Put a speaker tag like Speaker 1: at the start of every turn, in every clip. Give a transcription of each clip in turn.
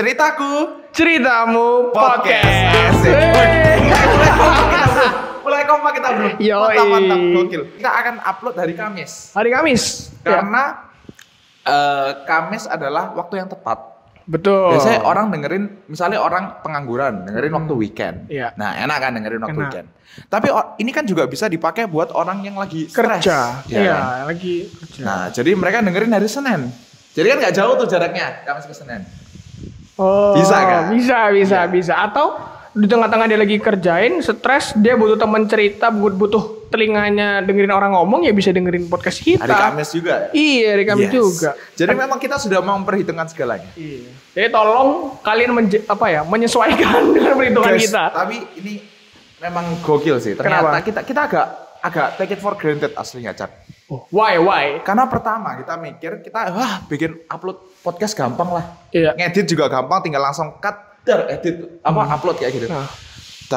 Speaker 1: Ceritaku
Speaker 2: Ceritamu podcast.
Speaker 1: Asik.
Speaker 2: Yeay.
Speaker 1: mulai kompak kita bro.
Speaker 2: Yoi.
Speaker 1: Mantap mantap gokil. Kita akan upload hari Kamis
Speaker 2: Hari Kamis. Ya,
Speaker 1: karena eh, Kamis adalah waktu yang tepat.
Speaker 2: betul.
Speaker 1: Biasanya orang dengerin, misalnya orang pengangguran dengerin waktu weekend.
Speaker 2: Iya.
Speaker 1: Nah enak kan dengerin waktu
Speaker 2: Enak.
Speaker 1: weekend. Tapi o- ini kan juga bisa dipakai buat orang yang lagi stres.
Speaker 2: kerja.
Speaker 1: Iya
Speaker 2: Iya,
Speaker 1: kan?
Speaker 2: lagi kerja.
Speaker 1: Nah jadi mereka dengerin hari Senin. Jadi kan nggak jauh tuh jaraknya Kamis ke Senin.
Speaker 2: oh,
Speaker 1: bisa kan?
Speaker 2: Bisa, bisa,
Speaker 1: Iya.
Speaker 2: bisa. Atau di tengah-tengah dia lagi kerjain, stres, dia butuh teman cerita, but- butuh telinganya dengerin orang ngomong ya bisa dengerin podcast kita.
Speaker 1: Hari Kamis juga.
Speaker 2: Iya, hari Kamis
Speaker 1: Yes.
Speaker 2: juga.
Speaker 1: Jadi memang kita sudah memperhitungkan segalanya.
Speaker 2: Iya. Jadi tolong kalian menje- apa ya, menyesuaikan dengan perhitungan
Speaker 1: Guys,
Speaker 2: kita.
Speaker 1: Tapi ini memang gokil sih. Ternyata
Speaker 2: Kenapa?
Speaker 1: kita kita agak agak take it for granted aslinya, Cak.
Speaker 2: Oh, Why, why?
Speaker 1: Karena pertama kita mikir kita wah bikin upload podcast gampang lah.
Speaker 2: Iya.
Speaker 1: Ngedit juga gampang tinggal langsung cut dar edit apa upload kayak gitu.
Speaker 2: Nah,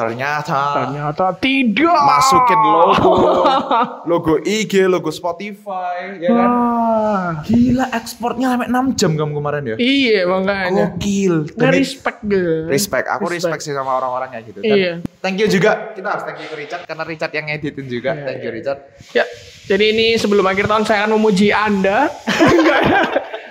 Speaker 1: Ternyata
Speaker 2: ternyata tidak.
Speaker 1: masukin logo logo IG, logo Spotify ya kan.
Speaker 2: Hmm. Wah.
Speaker 1: Gila ekspornya sampai 6 jam kamu kemarin ya.
Speaker 2: Iya makanya.
Speaker 1: Gokil.
Speaker 2: Nggak
Speaker 1: Oh, Demi-
Speaker 2: respect gitu.
Speaker 1: respect aku respect, sih sama orang-orangnya gitu Dan
Speaker 2: Iya.
Speaker 1: thank you juga kita harus thank you ke Richard karena Richard yang ngeditin juga
Speaker 2: Iya,
Speaker 1: thank you
Speaker 2: iya.
Speaker 1: Richard
Speaker 2: Ya, jadi ini sebelum akhir tahun saya akan memuji Anda. Enggak.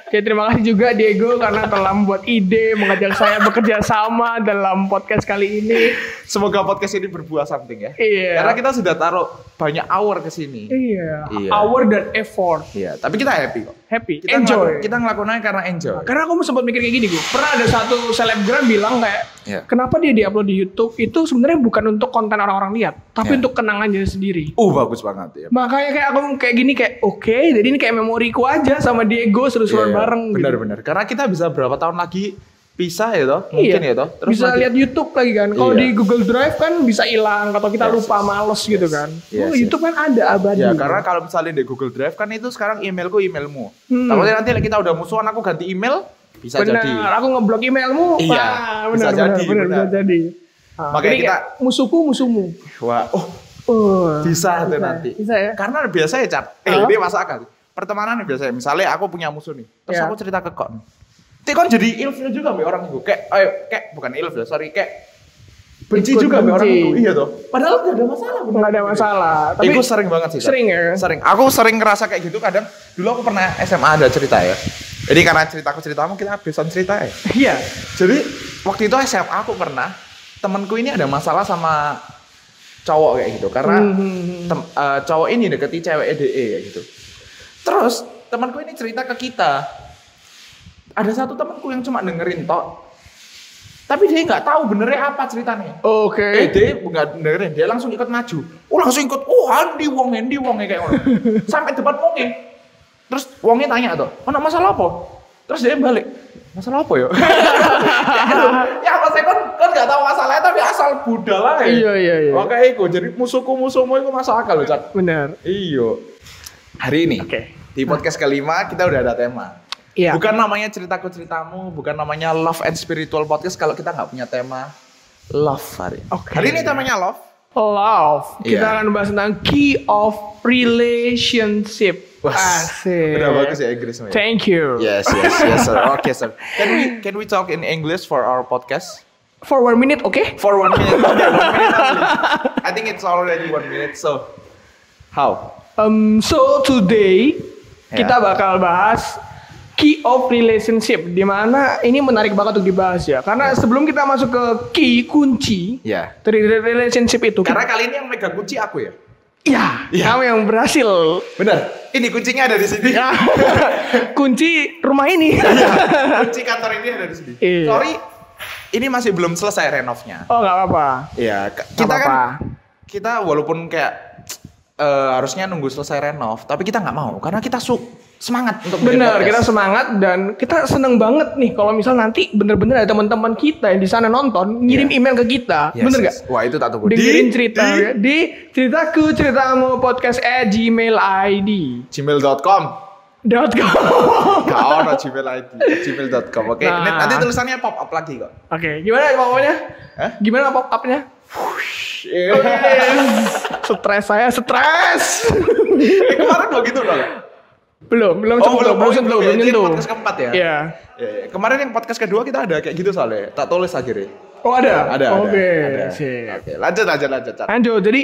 Speaker 2: Jadi terima kasih juga Diego karena telah membuat ide mengajak saya bekerja sama dalam podcast kali ini.
Speaker 1: semoga podcast ini berbuah something ya
Speaker 2: Iya.
Speaker 1: karena kita sudah taruh banyak hour ke sini
Speaker 2: Iya,
Speaker 1: Iya.
Speaker 2: hour dan effort.
Speaker 1: iya tapi kita happy kok
Speaker 2: Happy,
Speaker 1: kita ngelaku-
Speaker 2: enjoy.
Speaker 1: kita ngelakuinnya karena enjoy
Speaker 2: Karena aku sempat mikir kayak gini, gue pernah ada satu selebgram bilang kayak,
Speaker 1: Iya.
Speaker 2: kenapa dia diupload di YouTube itu sebenarnya bukan untuk konten orang-orang lihat, tapi
Speaker 1: Iya.
Speaker 2: untuk kenangan diri sendiri.
Speaker 1: uh bagus banget ya
Speaker 2: Makanya kayak aku kayak gini kayak oke, jadi ini kayak memoriku aja sama Diego seru-seruan
Speaker 1: Iya,
Speaker 2: bareng. gitu.
Speaker 1: benar-benar karena kita bisa berapa tahun lagi pisah ya toh mungkin
Speaker 2: iya.
Speaker 1: ya toh
Speaker 2: bisa
Speaker 1: nanti-
Speaker 2: lihat YouTube lagi kan. Kalau
Speaker 1: Iya.
Speaker 2: di Google Drive kan bisa hilang atau kita
Speaker 1: Yes,
Speaker 2: lupa males gitu kan.
Speaker 1: Yes,
Speaker 2: oh,
Speaker 1: yes.
Speaker 2: YouTube kan ada abadi.
Speaker 1: Ya, karena kalau misalnya di Google Drive kan itu sekarang emailku emailmu.
Speaker 2: Hmm.
Speaker 1: Takutnya nanti kita udah musuhan aku ganti email bisa
Speaker 2: benar.
Speaker 1: jadi.
Speaker 2: Aku ngeblok emailmu.
Speaker 1: Iya,
Speaker 2: Wah,
Speaker 1: bisa
Speaker 2: benar, benar,
Speaker 1: jadi,
Speaker 2: benar,
Speaker 1: benar.
Speaker 2: bisa jadi. Nah,
Speaker 1: Makanya
Speaker 2: jadi
Speaker 1: kita-
Speaker 2: kayak musuhku musuhmu.
Speaker 1: Wah, oh
Speaker 2: Oh.
Speaker 1: bisa tuh nanti.
Speaker 2: Bisa ya.
Speaker 1: Karena biasa ya, Cat. Eh,
Speaker 2: Halo?
Speaker 1: ini masuk akal. Pertemanan biasa Misalnya aku punya musuh nih, terus
Speaker 2: Iya.
Speaker 1: aku cerita ke kon. Nanti kon jadi ilfil juga sama orang itu. Kayak, ayo, kayak bukan ilfil, sorry, kayak benci
Speaker 2: Ikut
Speaker 1: juga sama orang
Speaker 2: benci.
Speaker 1: itu. Iya toh. Padahal gak ada masalah. bener.
Speaker 2: Enggak ada masalah. Tapi
Speaker 1: Itu sering banget sih. Cat.
Speaker 2: sering ya.
Speaker 1: Sering. Aku sering ngerasa kayak gitu kadang. Dulu aku pernah SMA ada cerita ya. Jadi karena ceritaku ceritamu kita habisan cerita ya.
Speaker 2: Iya.
Speaker 1: Jadi waktu itu SMA aku pernah temanku ini ada masalah sama cowok kayak gitu karena
Speaker 2: Mhm.
Speaker 1: tem- eh, cowok ini deketi cewek DE kayak gitu. Terus temanku ini cerita ke kita. Ada satu temanku yang cuma dengerin tok. Tapi dia nggak tahu benernya apa ceritanya.
Speaker 2: Oke.
Speaker 1: Eh, dia nggak dengerin, dia langsung ikut maju. Oh, langsung ikut. Oh, Andi Wong, Andi Wong e kayak ngono. Sampai debat Wonge. Terus Wonge tanya tuh, "Ono masalah apa?" Terus dia balik, "Masalah apa ya?" ya apa sih kan kan nggak tahu masalahnya tapi asal budal lah.
Speaker 2: Iya, iya, iya.
Speaker 1: Oke, iku jadi musuhku musuhmu itu masuk akal loh, Cak.
Speaker 2: Benar.
Speaker 1: Iyo. Hari ini
Speaker 2: Oke.
Speaker 1: di podcast kelima kita udah ada tema.
Speaker 2: Iya.
Speaker 1: Bukan namanya ceritaku ceritamu, bukan namanya love and spiritual podcast kalau kita nggak punya tema love hari. ini.
Speaker 2: Oke.
Speaker 1: Hari ini temanya love.
Speaker 2: Love. Kita
Speaker 1: Iya.
Speaker 2: akan bahas tentang key of relationship.
Speaker 1: Wah,
Speaker 2: Asik.
Speaker 1: Udah bagus ya Inggrisnya. ya?
Speaker 2: Thank you.
Speaker 1: Yes, yes, yes, sir. Okay, sir. Can we can we talk in English for our podcast?
Speaker 2: For one minute, oke?
Speaker 1: For one minute. Okay, one minute only. I think it's already one minute. So, how?
Speaker 2: Um, so today
Speaker 1: Ya.
Speaker 2: kita bakal bahas key of relationship. Dimana ini menarik banget untuk dibahas ya. Karena
Speaker 1: Iya.
Speaker 2: sebelum kita masuk ke key kunci
Speaker 1: Ya.
Speaker 2: dari relationship itu,
Speaker 1: Karena kali ini yang megang kunci aku ya.
Speaker 2: ya
Speaker 1: Iya.
Speaker 2: kamu yang berhasil
Speaker 1: Benar. Ini kuncinya ada di sini.
Speaker 2: Ya. kunci rumah ini.
Speaker 1: Kunci kantor ini ada di sini.
Speaker 2: Iya.
Speaker 1: Sorry, ini masih belum selesai renovnya.
Speaker 2: oh nggak apa-apa.
Speaker 1: Iya, k-
Speaker 2: Nggak
Speaker 1: kita kan
Speaker 2: apa-apa.
Speaker 1: kita walaupun kayak eh, harusnya nunggu selesai renov, tapi kita nggak mau karena kita su semangat untuk bikin
Speaker 2: Benar, kita
Speaker 1: podcast.
Speaker 2: semangat dan kita seneng banget nih kalau misal nanti bener-bener ada teman-teman kita yang di sana nonton ngirim email ke kita,
Speaker 1: Iya. Yes,
Speaker 2: bener
Speaker 1: yes.
Speaker 2: gak?
Speaker 1: Wah itu tak tunggu.
Speaker 2: Dengerin
Speaker 1: Di-
Speaker 2: cerita
Speaker 1: di
Speaker 2: ya, di ceritaku ceritamu podcast at gmail id
Speaker 1: gmail.com.
Speaker 2: dot com.
Speaker 1: Gak ada gmail ID. Gmail.com. Oke,
Speaker 2: Nah.
Speaker 1: Ini nanti tulisannya pop up lagi kok.
Speaker 2: Oke, gimana pokoknya?
Speaker 1: Hah?
Speaker 2: Gimana pop upnya?
Speaker 1: Iya.
Speaker 2: stres saya, stres.
Speaker 1: Eh, Kemarin begitu loh.
Speaker 2: Belum, belum sentuh, belum, sentuh, belum
Speaker 1: Jadi
Speaker 2: nyentuh.
Speaker 1: Oh, podcast keempat ya?
Speaker 2: Iya.
Speaker 1: Ya, ya. Kemarin yang podcast kedua kita ada kayak gitu soalnya. Tak tulis akhirnya.
Speaker 2: Oh ada?
Speaker 1: Ada.
Speaker 2: Oke,
Speaker 1: ada, ada.
Speaker 2: sip.
Speaker 1: Oke, lanjut lanjut lanjut. Cat.
Speaker 2: Lanjut, jadi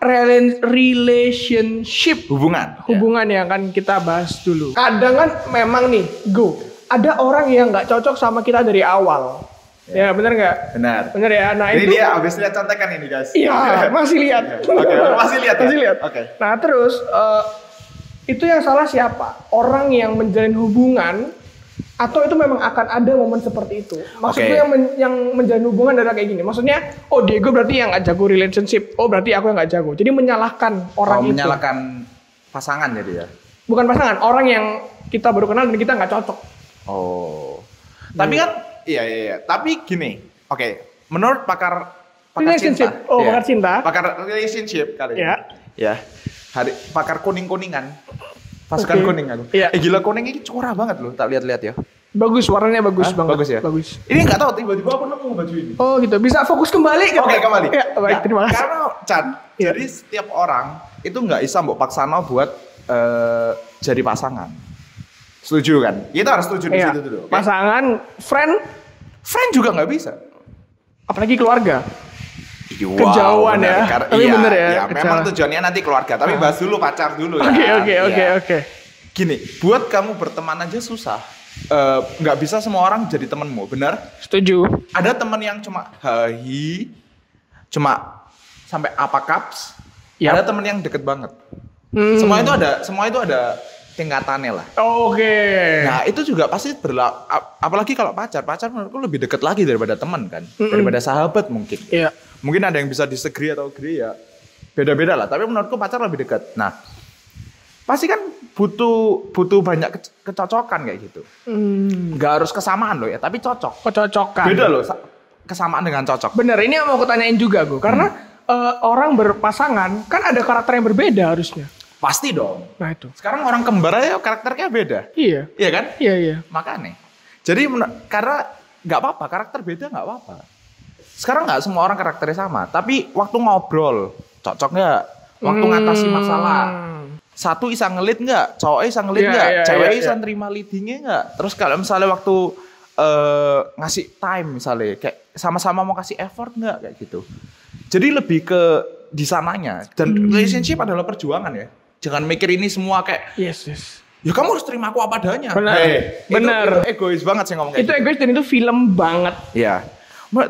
Speaker 2: relen- relationship
Speaker 1: Hubungan.
Speaker 2: hubungan yang akan kita bahas dulu. Kadang kan memang nih, go. Ada orang yang nggak cocok sama kita dari awal. Ya, bener nggak?
Speaker 1: Ya, Benar.
Speaker 2: Bener ya. Nah
Speaker 1: Ini
Speaker 2: itu.
Speaker 1: dia habis lihat contekan ini guys.
Speaker 2: Iya, masih lihat.
Speaker 1: Oke, masih lihat ya?
Speaker 2: Masih lihat.
Speaker 1: Oke.
Speaker 2: Nah, terus eh, itu yang salah siapa? Orang yang menjalin hubungan atau itu memang akan ada momen seperti itu. Maksudku
Speaker 1: Oke.
Speaker 2: yang men- yang menjalin hubungan adalah kayak gini. Maksudnya, oh Diego berarti yang nggak jago relationship. Oh, berarti aku yang nggak jago. Jadi menyalahkan orang
Speaker 1: Orang
Speaker 2: itu.
Speaker 1: menyalakan pasangan jadi ya.
Speaker 2: Bukan pasangan, orang yang kita baru kenal dan kita nggak cocok.
Speaker 1: Oh. Tapi kan iya iya iya. Tapi gini. Oke, menurut pakar pakar
Speaker 2: Relationship.
Speaker 1: cinta.
Speaker 2: Oh,
Speaker 1: Iya.
Speaker 2: pakar cinta.
Speaker 1: Pakar relationship kali
Speaker 2: Iya.
Speaker 1: ini. Ya. Hari pakar kuning-kuningan. Pasukan
Speaker 2: Oke.
Speaker 1: kuning aku.
Speaker 2: Iya.
Speaker 1: Eh gila kuning ini cerah banget loh, tak lihat-lihat ya.
Speaker 2: Bagus, warnanya bagus
Speaker 1: Hah?
Speaker 2: banget.
Speaker 1: Bagus ya?
Speaker 2: Bagus.
Speaker 1: Ini nggak tahu tiba-tiba aku nemu baju ini.
Speaker 2: Oh gitu, bisa fokus kembali nggak?
Speaker 1: Oke kembali.
Speaker 2: Ya, baik,
Speaker 1: Nah,
Speaker 2: terima kasih.
Speaker 1: Karena Chan,
Speaker 2: Iya.
Speaker 1: jadi setiap orang itu nggak bisa mbok paksana buat eh, jadi pasangan. Setuju kan? Kita harus setuju di
Speaker 2: Iya.
Speaker 1: situ dulu. oke?
Speaker 2: Pasangan, friend,
Speaker 1: Friend juga nggak bisa.
Speaker 2: apalagi keluarga.
Speaker 1: Wow,
Speaker 2: Kejauhan
Speaker 1: benar.
Speaker 2: ya.
Speaker 1: Karena-
Speaker 2: Tapi
Speaker 1: iya,
Speaker 2: bener ya,
Speaker 1: iya, memang
Speaker 2: kejauhan.
Speaker 1: tujuannya nanti keluarga, tapi
Speaker 2: Ah.
Speaker 1: bahas dulu pacar dulu ya.
Speaker 2: Oke oke
Speaker 1: Iya.
Speaker 2: oke oke.
Speaker 1: Gini, buat kamu berteman aja susah. Eh, Nggak bisa semua orang jadi temenmu, benar?
Speaker 2: Setuju.
Speaker 1: ada teman yang cuma hahi cuma sampai apa caps
Speaker 2: Yap.
Speaker 1: ada teman yang deket banget
Speaker 2: Hmm.
Speaker 1: semua itu ada semua itu ada tingkatannya lah
Speaker 2: Oke.
Speaker 1: nah itu juga pasti berlaku apalagi kalau pacar pacar menurutku lebih deket lagi daripada teman kan daripada sahabat mungkin
Speaker 2: Iya.
Speaker 1: mungkin ada yang bisa disagree atau agree ya beda-beda lah tapi menurutku pacar lebih dekat nah pasti kan butuh butuh banyak ke- kecocokan kayak gitu
Speaker 2: Hmm.
Speaker 1: nggak harus kesamaan loh ya tapi cocok
Speaker 2: Kecocokan.
Speaker 1: beda loh sa- kesamaan dengan cocok
Speaker 2: Bener. Ini yang mau aku tanyain juga gue, karena
Speaker 1: Hmm.
Speaker 2: eh, orang berpasangan kan ada karakter yang berbeda harusnya.
Speaker 1: Pasti dong.
Speaker 2: Nah itu.
Speaker 1: Sekarang orang kembar aja karakternya beda.
Speaker 2: Iya.
Speaker 1: Iya kan?
Speaker 2: Iya iya.
Speaker 1: Makanya. Jadi men- karena nggak apa-apa, karakter beda nggak apa-apa. Sekarang nggak semua orang karakternya sama, tapi waktu ngobrol cocok nggak?
Speaker 2: Hmm.
Speaker 1: Waktu ngatasi masalah. Satu bisa ngelit nggak? Cowoknya bisa ngelit
Speaker 2: Iya,
Speaker 1: nggak?
Speaker 2: iya,
Speaker 1: Cewek
Speaker 2: iya,
Speaker 1: bisa
Speaker 2: iya.
Speaker 1: nerima leadingnya nggak? Terus kalau misalnya waktu eh, ngasih time misalnya, kayak sama-sama mau kasih effort nggak kayak gitu. Jadi lebih ke di sananya dan
Speaker 2: Hmm.
Speaker 1: relationship adalah perjuangan ya. Jangan mikir ini semua kayak
Speaker 2: Yes yes.
Speaker 1: ya kamu harus terima aku apa adanya.
Speaker 2: Benar.
Speaker 1: Hei, itu-
Speaker 2: Benar.
Speaker 1: Itu, egois banget sih ngomong kayak gitu.
Speaker 2: Itu egois dan itu film banget.
Speaker 1: Ya.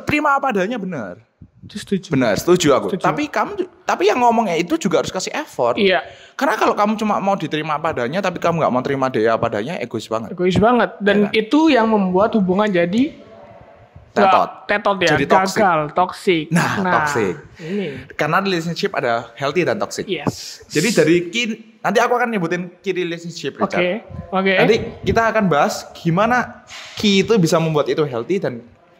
Speaker 1: Terima apa adanya benar.
Speaker 2: Itu Setuju.
Speaker 1: Benar, setuju aku.
Speaker 2: Setuju.
Speaker 1: Tapi kamu ju- tapi yang ngomongnya itu juga harus kasih effort.
Speaker 2: Iya.
Speaker 1: Karena kalau kamu cuma mau diterima apa adanya tapi kamu nggak mau terima dia apa adanya egois banget.
Speaker 2: Egois banget.
Speaker 1: Iya
Speaker 2: Dan
Speaker 1: kan?
Speaker 2: itu yang membuat hubungan jadi nggak-
Speaker 1: Tetot.
Speaker 2: Tetot ya.
Speaker 1: Jadi toxic.
Speaker 2: gagal, toxic.
Speaker 1: Nah, toxic.
Speaker 2: Ini.
Speaker 1: Karena relationship ada healthy dan toxic.
Speaker 2: Yes.
Speaker 1: Jadi dari kin nanti aku akan nyebutin key relationship
Speaker 2: Oke.
Speaker 1: Richard.
Speaker 2: Oke.
Speaker 1: Nanti kita akan bahas gimana key itu bisa membuat itu healthy dan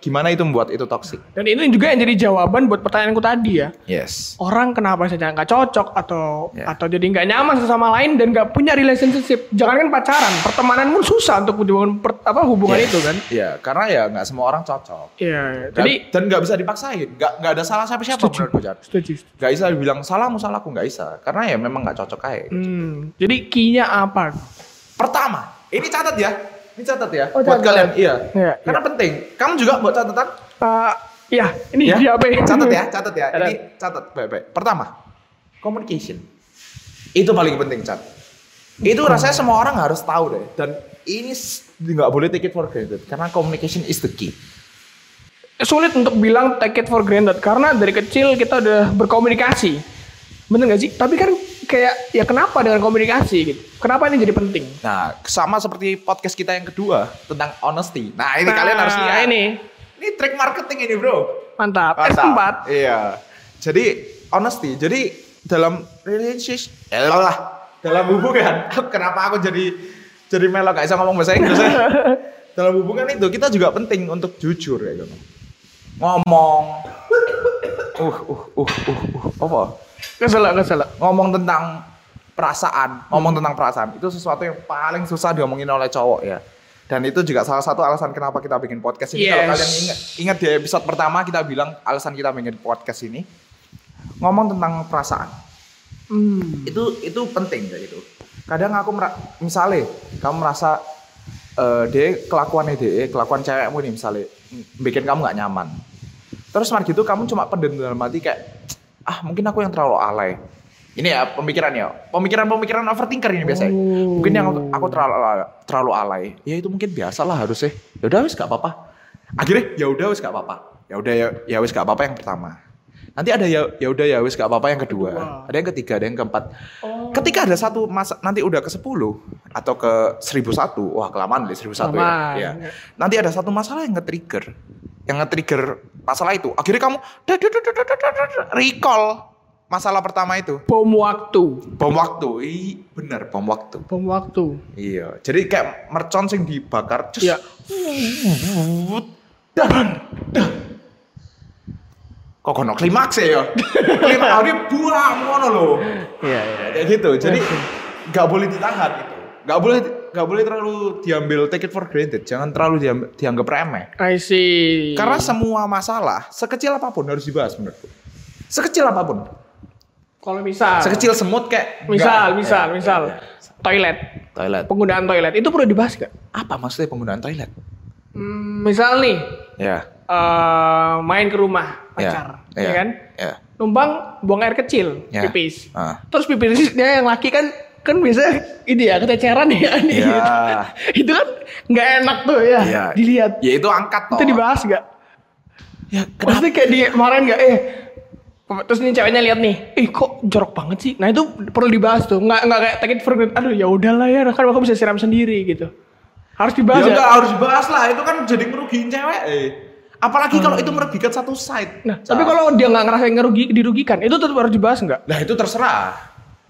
Speaker 1: gimana itu membuat itu toxic.
Speaker 2: Dan ini juga yang jadi jawaban buat pertanyaanku tadi ya.
Speaker 1: Yes.
Speaker 2: Orang kenapa saja nggak cocok atau
Speaker 1: Ya.
Speaker 2: atau jadi nggak nyaman satu sama lain dan nggak punya relationship. Jangan kan pacaran, pertemanan pun susah untuk dibangun per- apa hubungan itu kan.
Speaker 1: Iya, karena ya nggak semua orang cocok. Jadi
Speaker 2: Iya. Jadi
Speaker 1: dan nggak bisa dipaksain, nggak nggak ada salah siapa siapa
Speaker 2: Setuju.
Speaker 1: menurutku Jan.
Speaker 2: setuju.
Speaker 1: Nggak bisa bilang salahmu salahku nggak bisa, karena ya memang nggak cocok aja.
Speaker 2: Hmm, jadi key-nya apa?
Speaker 1: Pertama, ini catat ya, ini catat ya
Speaker 2: Oh,
Speaker 1: buat
Speaker 2: catat.
Speaker 1: kalian, iya.
Speaker 2: Iya,
Speaker 1: karena penting. Kamu juga buat catatan,
Speaker 2: Eh, ya, ini dia apa?
Speaker 1: Catat ya, catat ya.
Speaker 2: Catat.
Speaker 1: Ini catat baik-baik. Pertama, communication. Itu paling penting cat. Itu rasanya semua orang harus tahu deh. Dan ini s- nggak boleh take it for granted karena communication is the key.
Speaker 2: Sulit untuk bilang take it for granted karena dari kecil kita udah berkomunikasi. Bener gak sih? Tapi kan kayak ya kenapa dengan komunikasi gitu? Kenapa ini jadi penting?
Speaker 1: Nah, sama seperti podcast kita yang kedua tentang honesty. Nah, ini kalian harus
Speaker 2: Nah,
Speaker 1: lihat.
Speaker 2: ini
Speaker 1: Ini trik marketing ini, Bro.
Speaker 2: mantap.
Speaker 1: Mantap.
Speaker 2: S4.
Speaker 1: Iya. Jadi honesty. Jadi dalam relationship elah dalam hubungan. Kenapa aku jadi jadi melo gak bisa ngomong bahasa Inggris. ya? dalam hubungan itu kita juga penting untuk jujur ya gitu. Ngomong. Uh, uh, uh, uh, uh. Apa?
Speaker 2: Kesel, kesel.
Speaker 1: ngomong tentang perasaan, ngomong tentang perasaan itu sesuatu yang paling susah diomongin oleh cowok ya. Dan itu juga salah satu alasan kenapa kita bikin podcast ini. Kalau
Speaker 2: Yes.
Speaker 1: kalian ingat, ingat di episode pertama kita bilang alasan kita bikin podcast ini ngomong tentang perasaan
Speaker 2: Hmm.
Speaker 1: itu itu penting kayak gitu. kadang aku mera- misalnya kamu merasa eh dia kelakuannya dia kelakuan cewekmu nih misalnya m- bikin kamu nggak nyaman terus mar gitu kamu cuma pendem dalam hati kayak ah mungkin aku yang terlalu alay ini ya pemikiran ya pemikiran pemikiran overthinker ini biasanya
Speaker 2: Oh.
Speaker 1: mungkin yang aku- aku terlalu ala- terlalu alay ya itu mungkin biasa lah harusnya ya udah wis gak apa-apa akhirnya ya udah wis gak apa-apa ya udah ya ya wis gak apa-apa yang pertama nanti ada ya ya udah ya wis gak apa-apa yang kedua
Speaker 2: Kedua. Oh.
Speaker 1: ada yang ketiga ada yang keempat ketika ada satu masa nanti udah ke 10 atau ke 1001 wah kelamaan deh 1001 ya,
Speaker 2: Kelamaan.
Speaker 1: ya nanti ada satu masalah yang nge-trigger yang nge-trigger masalah itu akhirnya kamu dad, dad, dad, dad, dad, dad, dad, recall masalah pertama itu
Speaker 2: Bom waktu.
Speaker 1: bom waktu i bener bom waktu
Speaker 2: Bom waktu.
Speaker 1: iya jadi kayak mercon sing dibakar cus,
Speaker 2: Iya.
Speaker 1: dan dan kok kono klimaks ya ya? klimaks ini buang ngono loh
Speaker 2: Iya, iya.
Speaker 1: kayak gitu jadi nggak boleh ditahan gitu nggak boleh nggak boleh terlalu diambil take it for granted jangan terlalu diam- dianggap remeh
Speaker 2: I see.
Speaker 1: karena semua masalah sekecil apapun harus dibahas menurutku sekecil apapun
Speaker 2: kalau misal
Speaker 1: sekecil semut kayak
Speaker 2: misal
Speaker 1: nggak-
Speaker 2: misal
Speaker 1: ya,
Speaker 2: misal
Speaker 1: ya, ya.
Speaker 2: toilet
Speaker 1: toilet
Speaker 2: penggunaan toilet itu perlu dibahas gak?
Speaker 1: apa maksudnya penggunaan toilet
Speaker 2: Hmm, misal nih
Speaker 1: ya
Speaker 2: eh, main ke rumah
Speaker 1: ya,
Speaker 2: pacar,
Speaker 1: ya,
Speaker 2: ya kan?
Speaker 1: ya,
Speaker 2: Numpang buang air kecil,
Speaker 1: ya.
Speaker 2: pipis.
Speaker 1: Ah.
Speaker 2: Terus pipisnya yang laki kan kan biasa ini ya keteceran ya.
Speaker 1: Iya.
Speaker 2: itu kan nggak enak tuh ya.
Speaker 1: Iya.
Speaker 2: Dilihat.
Speaker 1: ya itu angkat toh
Speaker 2: Itu dibahas gak?
Speaker 1: ya kenapa
Speaker 2: Maksudnya kayak di kemarin nggak eh terus nih ceweknya lihat nih, ih kok jorok banget sih. Nah itu perlu dibahas tuh, nggak nggak kayak take it for granted. Aduh ya udahlah ya, kan aku bisa siram sendiri gitu. Harus dibahas
Speaker 1: ya
Speaker 2: ya.
Speaker 1: enggak harus dibahas lah itu kan jadi merugiin cewek eh. apalagi kalau itu merugikan satu side
Speaker 2: Hmm. Nah tapi kalau dia nggak ngerasa ngerugi dirugikan, itu tetap harus dibahas nggak?
Speaker 1: Nah itu terserah.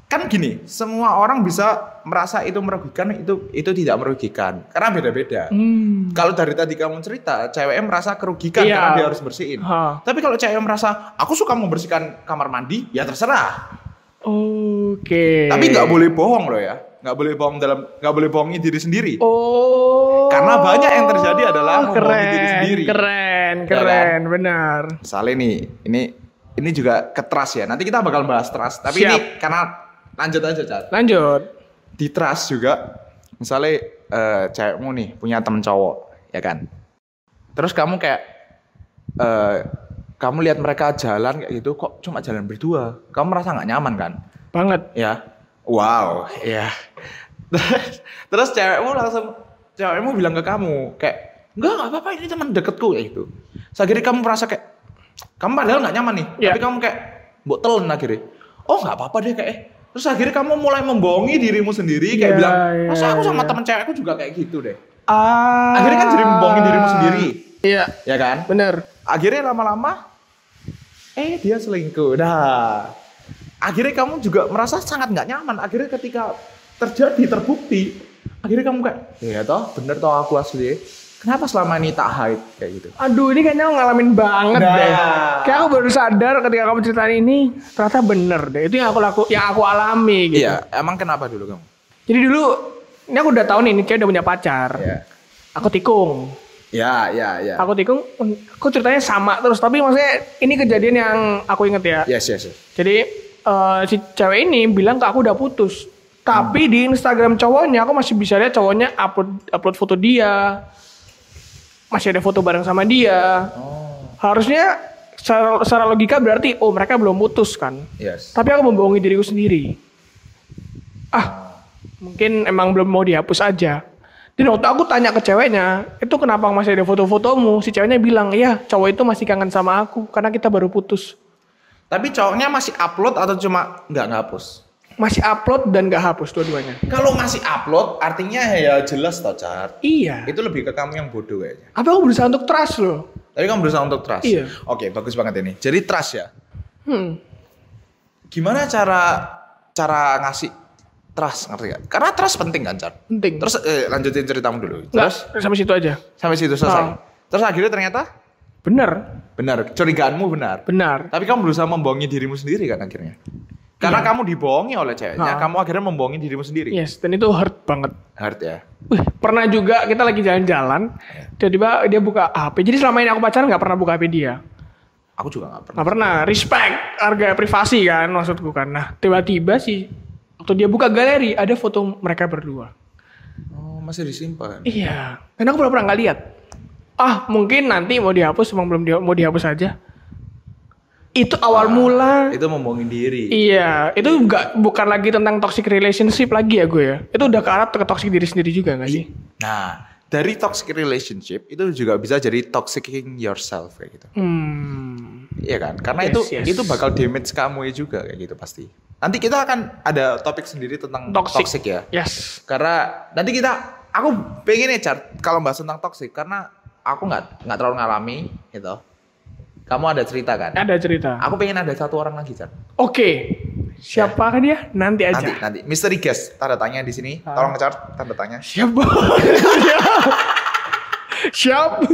Speaker 1: Kan gini, semua orang bisa merasa itu merugikan, itu itu tidak merugikan. Karena beda-beda.
Speaker 2: Hmm.
Speaker 1: Kalau dari tadi kamu cerita, ceweknya merasa kerugikan
Speaker 2: Iya.
Speaker 1: karena dia harus bersihin.
Speaker 2: Ha.
Speaker 1: Tapi kalau cewek merasa, aku suka membersihkan kamar mandi, ya terserah.
Speaker 2: Oke.
Speaker 1: Tapi nggak boleh bohong loh ya. Nggak boleh bohong dalam, nggak boleh bohongin diri sendiri.
Speaker 2: Oh.
Speaker 1: Karena banyak yang terjadi adalah membohongi
Speaker 2: keren,
Speaker 1: diri sendiri.
Speaker 2: Keren,
Speaker 1: Ya kan?
Speaker 2: keren, benar.
Speaker 1: Misalnya nih, ini ini juga ke trust ya. Nanti kita bakal bahas trust. Tapi
Speaker 2: Siap.
Speaker 1: ini karena lanjut aja, Cat.
Speaker 2: Lanjut.
Speaker 1: di trust juga misalnya eh, cewekmu nih punya temen cowok ya kan terus kamu kayak eh, kamu lihat mereka jalan kayak gitu kok cuma jalan berdua kamu merasa nggak nyaman kan
Speaker 2: Banget.
Speaker 1: ya wow ya terus cewekmu langsung cewekmu bilang ke kamu kayak enggak nggak apa-apa ini teman deketku kayak gitu Terus akhirnya kamu merasa kayak kamu padahal nggak nyaman nih
Speaker 2: Iya.
Speaker 1: tapi kamu kayak mbok telan akhirnya oh nggak apa-apa deh kayak eh. terus akhirnya kamu mulai membohongi dirimu sendiri kayak
Speaker 2: Iya,
Speaker 1: bilang
Speaker 2: iya.
Speaker 1: masa aku sama teman cewekku juga kayak gitu deh
Speaker 2: Ah.
Speaker 1: akhirnya kan jadi membohongi dirimu sendiri
Speaker 2: Iya,
Speaker 1: ya kan
Speaker 2: benar.
Speaker 1: akhirnya lama-lama eh dia selingkuh nah akhirnya kamu juga merasa sangat nggak nyaman akhirnya ketika terjadi terbukti akhirnya kamu kayak ya toh bener toh aku asli kenapa selama ini tak hide kayak gitu
Speaker 2: Aduh ini kayaknya ngalamin banget
Speaker 1: Nah.
Speaker 2: deh. Kayak aku baru sadar ketika kamu ceritain ini ternyata bener deh. Itu yang aku laku, yang aku alami gitu.
Speaker 1: iya emang kenapa dulu kamu
Speaker 2: Jadi dulu ini aku udah tahu nih, ini cewek udah punya pacar.
Speaker 1: ya
Speaker 2: Aku tikung,
Speaker 1: ya ya ya
Speaker 2: aku tikung. Aku ceritanya sama terus, tapi maksudnya ini kejadian yang aku inget ya.
Speaker 1: yes yes, yes.
Speaker 2: Jadi eh, si cewek ini bilang ke aku udah putus. Tapi di Instagram cowoknya aku masih bisa lihat cowoknya upload upload foto dia. Masih ada foto bareng sama dia.
Speaker 1: Oh.
Speaker 2: Harusnya secara, secara logika berarti oh mereka belum putus kan.
Speaker 1: yes
Speaker 2: Tapi aku membohongi diriku sendiri. Ah, mungkin emang belum mau dihapus aja. Dan waktu aku tanya ke ceweknya, itu kenapa masih ada foto-fotomu? Si ceweknya bilang, ya cowok itu masih kangen sama aku karena kita baru putus.
Speaker 1: tapi cowoknya masih upload atau cuma nggak ngapus
Speaker 2: masih upload dan gak hapus dua-duanya.
Speaker 1: kalau masih upload artinya ya jelas toh Car.
Speaker 2: Iya.
Speaker 1: itu lebih ke kamu yang bodoh kayaknya
Speaker 2: Apa aku berusaha untuk trust loh?
Speaker 1: Tapi kamu berusaha untuk trust.
Speaker 2: Iya.
Speaker 1: Oke, bagus banget ini. Jadi trust ya.
Speaker 2: Hmm.
Speaker 1: Gimana cara cara ngasih trust ngerti gak? Karena trust penting kan, Char.
Speaker 2: Penting.
Speaker 1: Terus eh, lanjutin ceritamu dulu.
Speaker 2: Nggak,
Speaker 1: Terus
Speaker 2: sampai situ aja.
Speaker 1: sampai situ selesai.
Speaker 2: Ah.
Speaker 1: Terus akhirnya ternyata
Speaker 2: Bener,
Speaker 1: benar, curigaanmu benar.
Speaker 2: benar.
Speaker 1: Tapi kamu berusaha membohongi dirimu sendiri kan akhirnya. Karena
Speaker 2: Iya.
Speaker 1: kamu dibohongi oleh ceweknya,
Speaker 2: Ah.
Speaker 1: kamu akhirnya membohongi dirimu sendiri.
Speaker 2: Yes, dan itu hurt banget.
Speaker 1: Hard ya.
Speaker 2: Wih, pernah juga kita lagi jalan-jalan, tiba-tiba dia buka HP. Jadi selama ini aku pacaran nggak pernah buka HP dia.
Speaker 1: Aku juga gak pernah.
Speaker 2: Nggak pernah. Respect, harga privasi kan maksudku kan. Nah, tiba-tiba si Waktu dia buka galeri ada foto mereka berdua.
Speaker 1: Oh, masih disimpan.
Speaker 2: Iya. Karena aku pernah nggak lihat. Ah mungkin nanti mau dihapus, emang belum di- mau dihapus aja. Itu awal mula.
Speaker 1: Itu membohongin diri.
Speaker 2: Iya, itu nggak bukan lagi tentang toxic relationship lagi ya gue ya. Itu udah ke arah ke toxic diri sendiri juga nggak sih?
Speaker 1: Nah, dari toxic relationship itu juga bisa jadi toxicing yourself kayak gitu.
Speaker 2: Hmm.
Speaker 1: Iya kan? Karena
Speaker 2: Yes,
Speaker 1: itu
Speaker 2: yes.
Speaker 1: itu bakal damage kamu juga kayak gitu pasti. Nanti kita akan ada topik sendiri tentang
Speaker 2: Toxic.
Speaker 1: toxic, ya.
Speaker 2: Yes.
Speaker 1: Karena nanti kita aku pengen ya Char, kalau bahas tentang toxic karena aku nggak nggak terlalu ngalami gitu. Kamu ada cerita kan?
Speaker 2: Ada cerita.
Speaker 1: Aku pengen ada satu orang lagi, Char.
Speaker 2: Oke. Siapa kan dia? Nanti aja.
Speaker 1: Nanti nanti misteri guest tanda tanya di sini. Tolong Char tanda tanya.
Speaker 2: Siapa? Siap.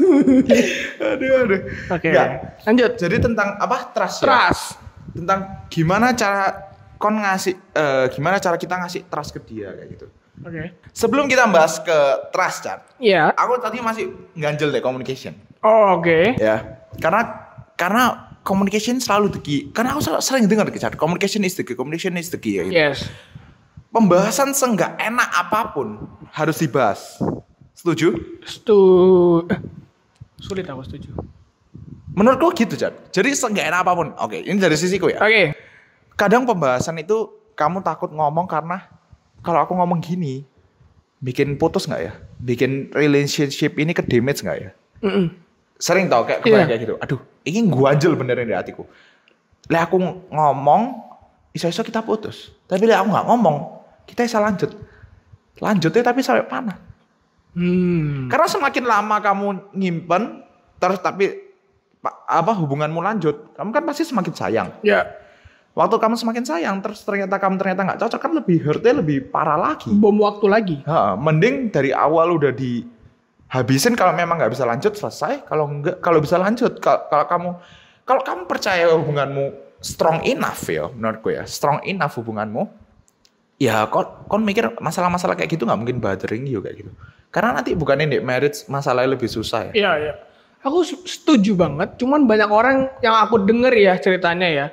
Speaker 1: aduh aduh.
Speaker 2: Oke.
Speaker 1: Ya.
Speaker 2: Lanjut.
Speaker 1: Jadi tentang apa trust? ya?
Speaker 2: Trust.
Speaker 1: tentang gimana cara kon ngasih eh, gimana cara kita ngasih trust ke dia kayak gitu.
Speaker 2: Oke.
Speaker 1: Sebelum kita bahas ke trust Chan,
Speaker 2: Iya.
Speaker 1: aku tadi masih ganjel deh communication.
Speaker 2: Oh, Oke.
Speaker 1: Ya. Karena karena communication selalu the key. Karena aku sel- sering dengar Chan, communication is the key, communication is the key. ya gitu.
Speaker 2: Yes.
Speaker 1: Pembahasan seenggak enak apapun harus dibahas. Setuju?
Speaker 2: Stu. eh, Sulit aku setuju. Oke.
Speaker 1: Menurutku gitu Chan. Jadi seenggak enak apapun. Oke, ini dari sisiku ya. kadang pembahasan itu kamu takut ngomong karena kalau aku ngomong gini bikin putus nggak ya bikin relationship ini ke damage nggak ya
Speaker 2: Mm-mm.
Speaker 1: sering tau kayak kebayang
Speaker 2: Iya.
Speaker 1: kayak gitu aduh ini guanjel beneran di hatiku lah aku ngomong iso-iso kita putus tapi lah aku nggak ngomong kita bisa lanjut lanjutnya tapi sampai panah
Speaker 2: Hmm.
Speaker 1: karena semakin lama kamu nyimpen terus tapi pa- apa hubunganmu lanjut kamu kan pasti semakin sayang
Speaker 2: Ya.
Speaker 1: Waktu kamu semakin sayang, terus ternyata kamu ternyata nggak cocok kan lebih hurtnya lebih parah lagi.
Speaker 2: Bom waktu lagi.
Speaker 1: Ha, mending dari awal udah dihabisin kalau memang nggak bisa lanjut selesai. Kalau nggak kalau bisa lanjut Kal- kalau kamu kalau kamu percaya hubunganmu strong enough ya menurutku ya strong enough hubunganmu ya kon kon mikir masalah-masalah kayak gitu nggak mungkin bothering you kayak gitu karena nanti bukannya di marriage masalahnya lebih susah ya
Speaker 2: Iya, iya. Aku se- setuju banget, cuman banyak orang yang aku denger ya ceritanya ya.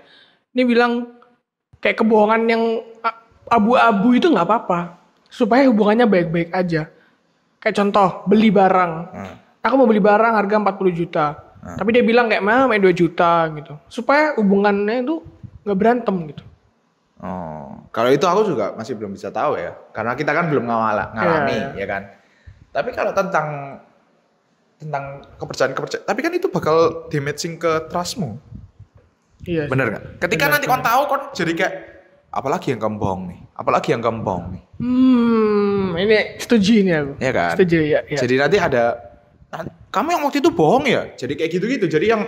Speaker 2: Ini bilang kayak kebohongan yang a- abu-abu itu nggak apa-apa. Supaya hubungannya baik-baik aja. Kayak contoh, beli barang. Aku mau beli barang harga 40 juta. Tapi dia bilang kayak, mah main 2 juta gitu. Supaya hubungannya itu nggak berantem gitu.
Speaker 1: Oh, kalau itu aku juga masih belum bisa tahu ya, karena kita kan belum ngawala, ngalami
Speaker 2: Iya,
Speaker 1: ya kan. Tapi kalau tentang tentang kepercayaan kepercayaan, tapi kan itu bakal damaging ke trustmu,
Speaker 2: Iya.
Speaker 1: bener nggak? Ketika nanti kon tahu kon jadi kayak apalagi yang kamu bohong nih, apalagi yang kamu bohong nih,
Speaker 2: Hmm, ini setuju ini aku.
Speaker 1: ya kan?
Speaker 2: Setuju ya. ya.
Speaker 1: Jadi nanti ada "Nah, kamu yang waktu itu bohong ya, jadi kayak gitu-gitu, jadi yang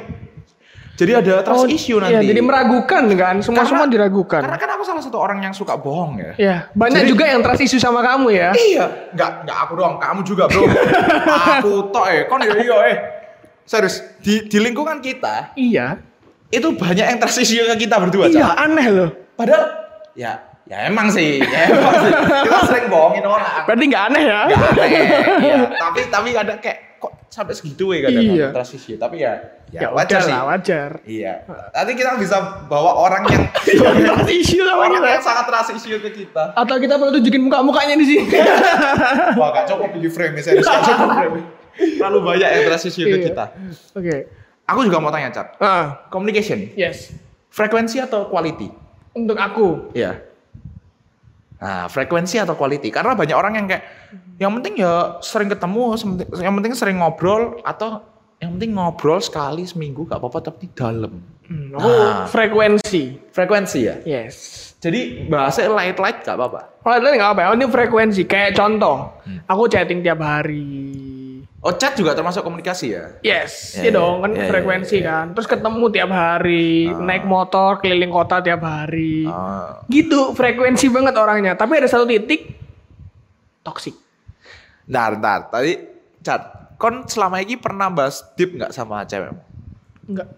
Speaker 1: jadi ada trust
Speaker 2: Oh,
Speaker 1: issue
Speaker 2: iya,
Speaker 1: nanti.
Speaker 2: jadi meragukan kan, semua-semua
Speaker 1: Karena-
Speaker 2: diragukan.
Speaker 1: Karena kan aku salah satu orang yang suka bohong ya.
Speaker 2: Ya, banyak
Speaker 1: Jadi-
Speaker 2: juga yang trust isu sama kamu ya.
Speaker 1: Iya, nggak nggak aku doang, kamu juga bro. aku tok eh, kon yo yo eh. Serius, di, di lingkungan kita
Speaker 2: Iya.
Speaker 1: itu banyak yang transisi ke kita berdua.
Speaker 2: Iya,
Speaker 1: Cak.
Speaker 2: aneh loh.
Speaker 1: Padahal ya ya emang sih, ya emang sih. Kita sering bohongin orang.
Speaker 2: Berarti nggak aneh ya?
Speaker 1: Nggak aneh, iya. Tapi tapi kadang kayak kok sampai segitu ya kadang
Speaker 2: Iya.
Speaker 1: transisi. Tapi ya
Speaker 2: Ya,
Speaker 1: ya, wajar
Speaker 2: udah
Speaker 1: sih.
Speaker 2: lah, wajar.
Speaker 1: Iya. Nanti kita bisa bawa orang yang
Speaker 2: Iya. trust isu sama
Speaker 1: orang
Speaker 2: kita.
Speaker 1: yang sangat transisi ke kita.
Speaker 2: Atau kita perlu tunjukin muka-mukanya di sini.
Speaker 1: Iya. Wah gak cukup di frame ya, serius gak cukup frame Terlalu banyak yang transisi
Speaker 2: Iya.
Speaker 1: ke kita
Speaker 2: Oke.
Speaker 1: Aku juga mau tanya Cat
Speaker 2: Ah,
Speaker 1: Communication
Speaker 2: yes.
Speaker 1: Frekuensi atau quality?
Speaker 2: Untuk aku.
Speaker 1: Iya Nah frekuensi atau quality Karena banyak orang yang kayak Yang penting ya sering ketemu sementi- Yang penting sering ngobrol Atau yang penting ngobrol sekali seminggu gak apa-apa tapi dalam
Speaker 2: Hmm, aku
Speaker 1: Nah.
Speaker 2: frekuensi.
Speaker 1: Frekuensi ya?
Speaker 2: Yes.
Speaker 1: Jadi bahasanya light-light gak apa-apa
Speaker 2: Kalau itu nggak apa-apa, ini frekuensi. Kayak contoh,
Speaker 1: Hmm.
Speaker 2: aku chatting tiap hari.
Speaker 1: Oh chat juga termasuk komunikasi ya?
Speaker 2: Yes,
Speaker 1: Ya,
Speaker 2: iya
Speaker 1: ya,
Speaker 2: dong kan
Speaker 1: ya, ya,
Speaker 2: frekuensi
Speaker 1: ya, ya.
Speaker 2: kan. Terus ketemu tiap hari, naik motor keliling kota tiap hari.
Speaker 1: Ah.
Speaker 2: gitu frekuensi banget orangnya tapi ada satu titik toksik
Speaker 1: Ntar, ntar. Tadi, Cat, kon selama ini pernah bahas deep nggak sama cewekmu?
Speaker 2: enggak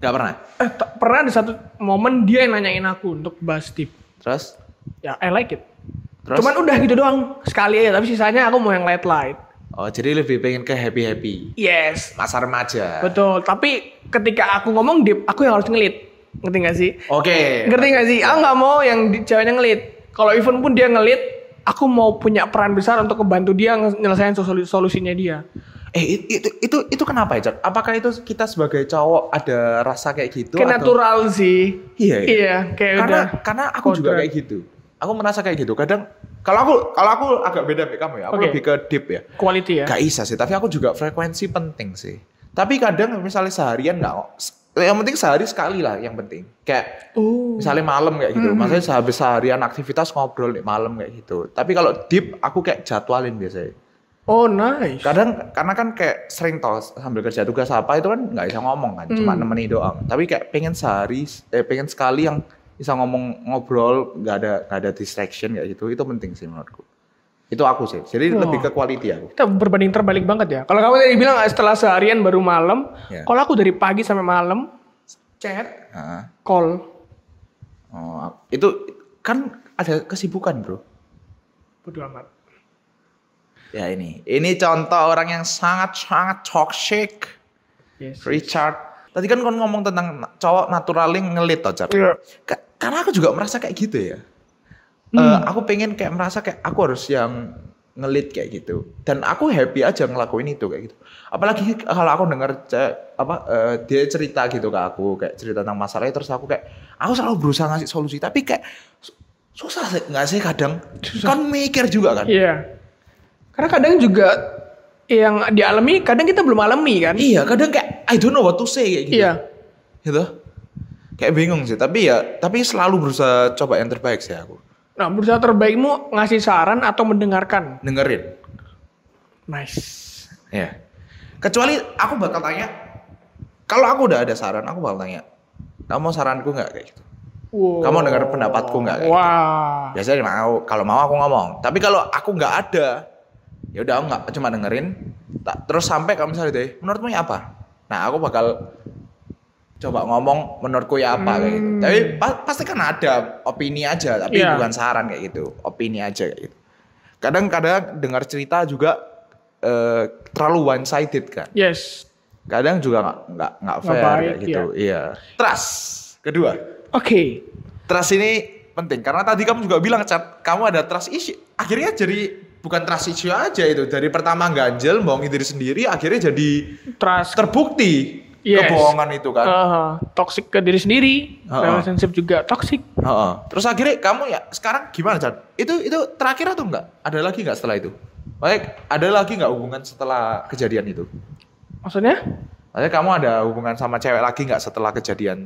Speaker 1: Gak pernah.
Speaker 2: eh, t- pernah ada satu momen dia yang nanyain aku untuk bahas tip
Speaker 1: Terus?
Speaker 2: ya I like it
Speaker 1: Terus?
Speaker 2: cuman udah gitu doang sekali aja tapi sisanya aku mau yang light light
Speaker 1: Oh, jadi lebih pengen ke happy-happy.
Speaker 2: yes
Speaker 1: Masa remaja.
Speaker 2: betul tapi ketika aku ngomong deep aku yang harus ngelit ngerti gak sih
Speaker 1: Oke. Iya.
Speaker 2: ngerti gak sih aku nggak mau yang di- ceweknya ngelit kalau even pun dia ngelit aku mau punya peran besar untuk membantu dia nyelesain solu- solusinya dia
Speaker 1: Eh it- itu itu itu kenapa ya, Cak? Apakah itu kita sebagai cowok ada rasa kayak gitu
Speaker 2: kayak natural sih
Speaker 1: Iya, iya.
Speaker 2: kayak
Speaker 1: Karena
Speaker 2: udah
Speaker 1: karena aku juga
Speaker 2: kodrat.
Speaker 1: kayak gitu. Aku merasa kayak gitu. Kadang kalau aku kalau aku agak beda dari kamu ya. Aku
Speaker 2: Oke.
Speaker 1: lebih ke deep ya.
Speaker 2: quality ya
Speaker 1: Gak bisa sih, tapi aku juga frekuensi penting sih. Tapi kadang misalnya seharian nggak, yang penting sehari sekali lah yang penting. Kayak
Speaker 2: oh
Speaker 1: misalnya malam kayak gitu. Maksudnya sehabis seharian aktivitas ngobrol nih malam kayak gitu. Tapi kalau deep aku kayak jadwalin biasanya.
Speaker 2: oh nice
Speaker 1: Kadang karena kan kayak sering toh sambil kerja tugas apa itu kan nggak bisa ngomong kan, cuma nemenin doang. Tapi kayak pengen sehari, eh pengen sekali yang bisa ngomong ngobrol nggak ada nggak ada distraction kayak gitu. Itu penting sih menurutku. Itu aku sih. Jadi
Speaker 2: Wah.
Speaker 1: lebih ke quality aku.
Speaker 2: kita berbanding terbalik banget ya kalau kamu tadi bilang setelah seharian baru malam
Speaker 1: Iya.
Speaker 2: kalau aku dari pagi sampai malam chat
Speaker 1: Heeh.
Speaker 2: call
Speaker 1: Oh, itu kan ada kesibukan, Bro.
Speaker 2: bodo amat
Speaker 1: Ya ini. Ini contoh orang yang sangat-sangat toxic,
Speaker 2: yes
Speaker 1: Richard. Tadi kan kon ngomong tentang na- cowok naturalnya ngelit toh, Jar.
Speaker 2: Iya. Hmm.
Speaker 1: Ka- Karena aku juga merasa kayak gitu ya. Eh, aku pengen kayak merasa kayak aku harus yang ngelit kayak gitu. Dan aku happy aja ngelakuin itu kayak gitu. Apalagi kalau aku denger ce- apa eh, dia cerita gitu ke aku kayak cerita tentang masalahnya terus aku kayak aku selalu berusaha ngasih solusi tapi kayak su- susah sih nggak sih kadang kan mikir juga kan
Speaker 2: Iya. Karena kadang juga yang dialami, kadang kita belum alami kan.
Speaker 1: Iya, kadang kayak I don't know what to say kayak gitu.
Speaker 2: Iya.
Speaker 1: Gitu. Kayak bingung sih, tapi ya tapi selalu berusaha coba yang terbaik sih aku.
Speaker 2: Nah, berusaha terbaikmu ngasih saran atau mendengarkan.
Speaker 1: Dengerin.
Speaker 2: Nice.
Speaker 1: Iya. Kecuali aku bakal tanya kalau aku udah ada saran, aku bakal tanya. Kamu mau saranku nggak kayak gitu?
Speaker 2: Wow.
Speaker 1: Kamu dengar pendapatku nggak kayak gitu?
Speaker 2: Wah.
Speaker 1: Biasanya mau, kalau mau aku ngomong. Tapi kalau aku nggak ada, ya udah aku nggak cuma dengerin. Tak, terus sampai kamu misalnya deh, menurutmu ya apa? Nah aku bakal coba ngomong menurutku ya apa kayak gitu. Tapi pa- pasti kan ada opini aja, tapi
Speaker 2: Iya.
Speaker 1: bukan saran kayak gitu, opini aja kayak gitu. Kadang-kadang dengar cerita juga eh, terlalu one sided kan.
Speaker 2: Yes.
Speaker 1: Kadang juga nggak nggak nggak fair
Speaker 2: Nggak baik,
Speaker 1: kayak gitu. Iya. Trust kedua.
Speaker 2: Oke.
Speaker 1: Trust ini penting karena tadi kamu juga bilang Cat, kamu ada trust issue. Akhirnya jadi bukan trust issue aja itu. Dari pertama ganjel, bohongin diri sendiri, akhirnya jadi
Speaker 2: Trust.
Speaker 1: terbukti
Speaker 2: Yes. Uh.
Speaker 1: kebohongan itu kan.
Speaker 2: Aha. toxic ke diri sendiri.
Speaker 1: Ha-ha.
Speaker 2: Relationship juga toxic.
Speaker 1: Heeh. Terus akhirnya kamu ya sekarang gimana Cat? Itu itu terakhir atau enggak? Ada lagi enggak setelah itu? Baik, ada lagi nggak hubungan setelah kejadian itu?
Speaker 2: Maksudnya?
Speaker 1: Maksudnya kamu ada hubungan sama cewek lagi nggak setelah kejadian?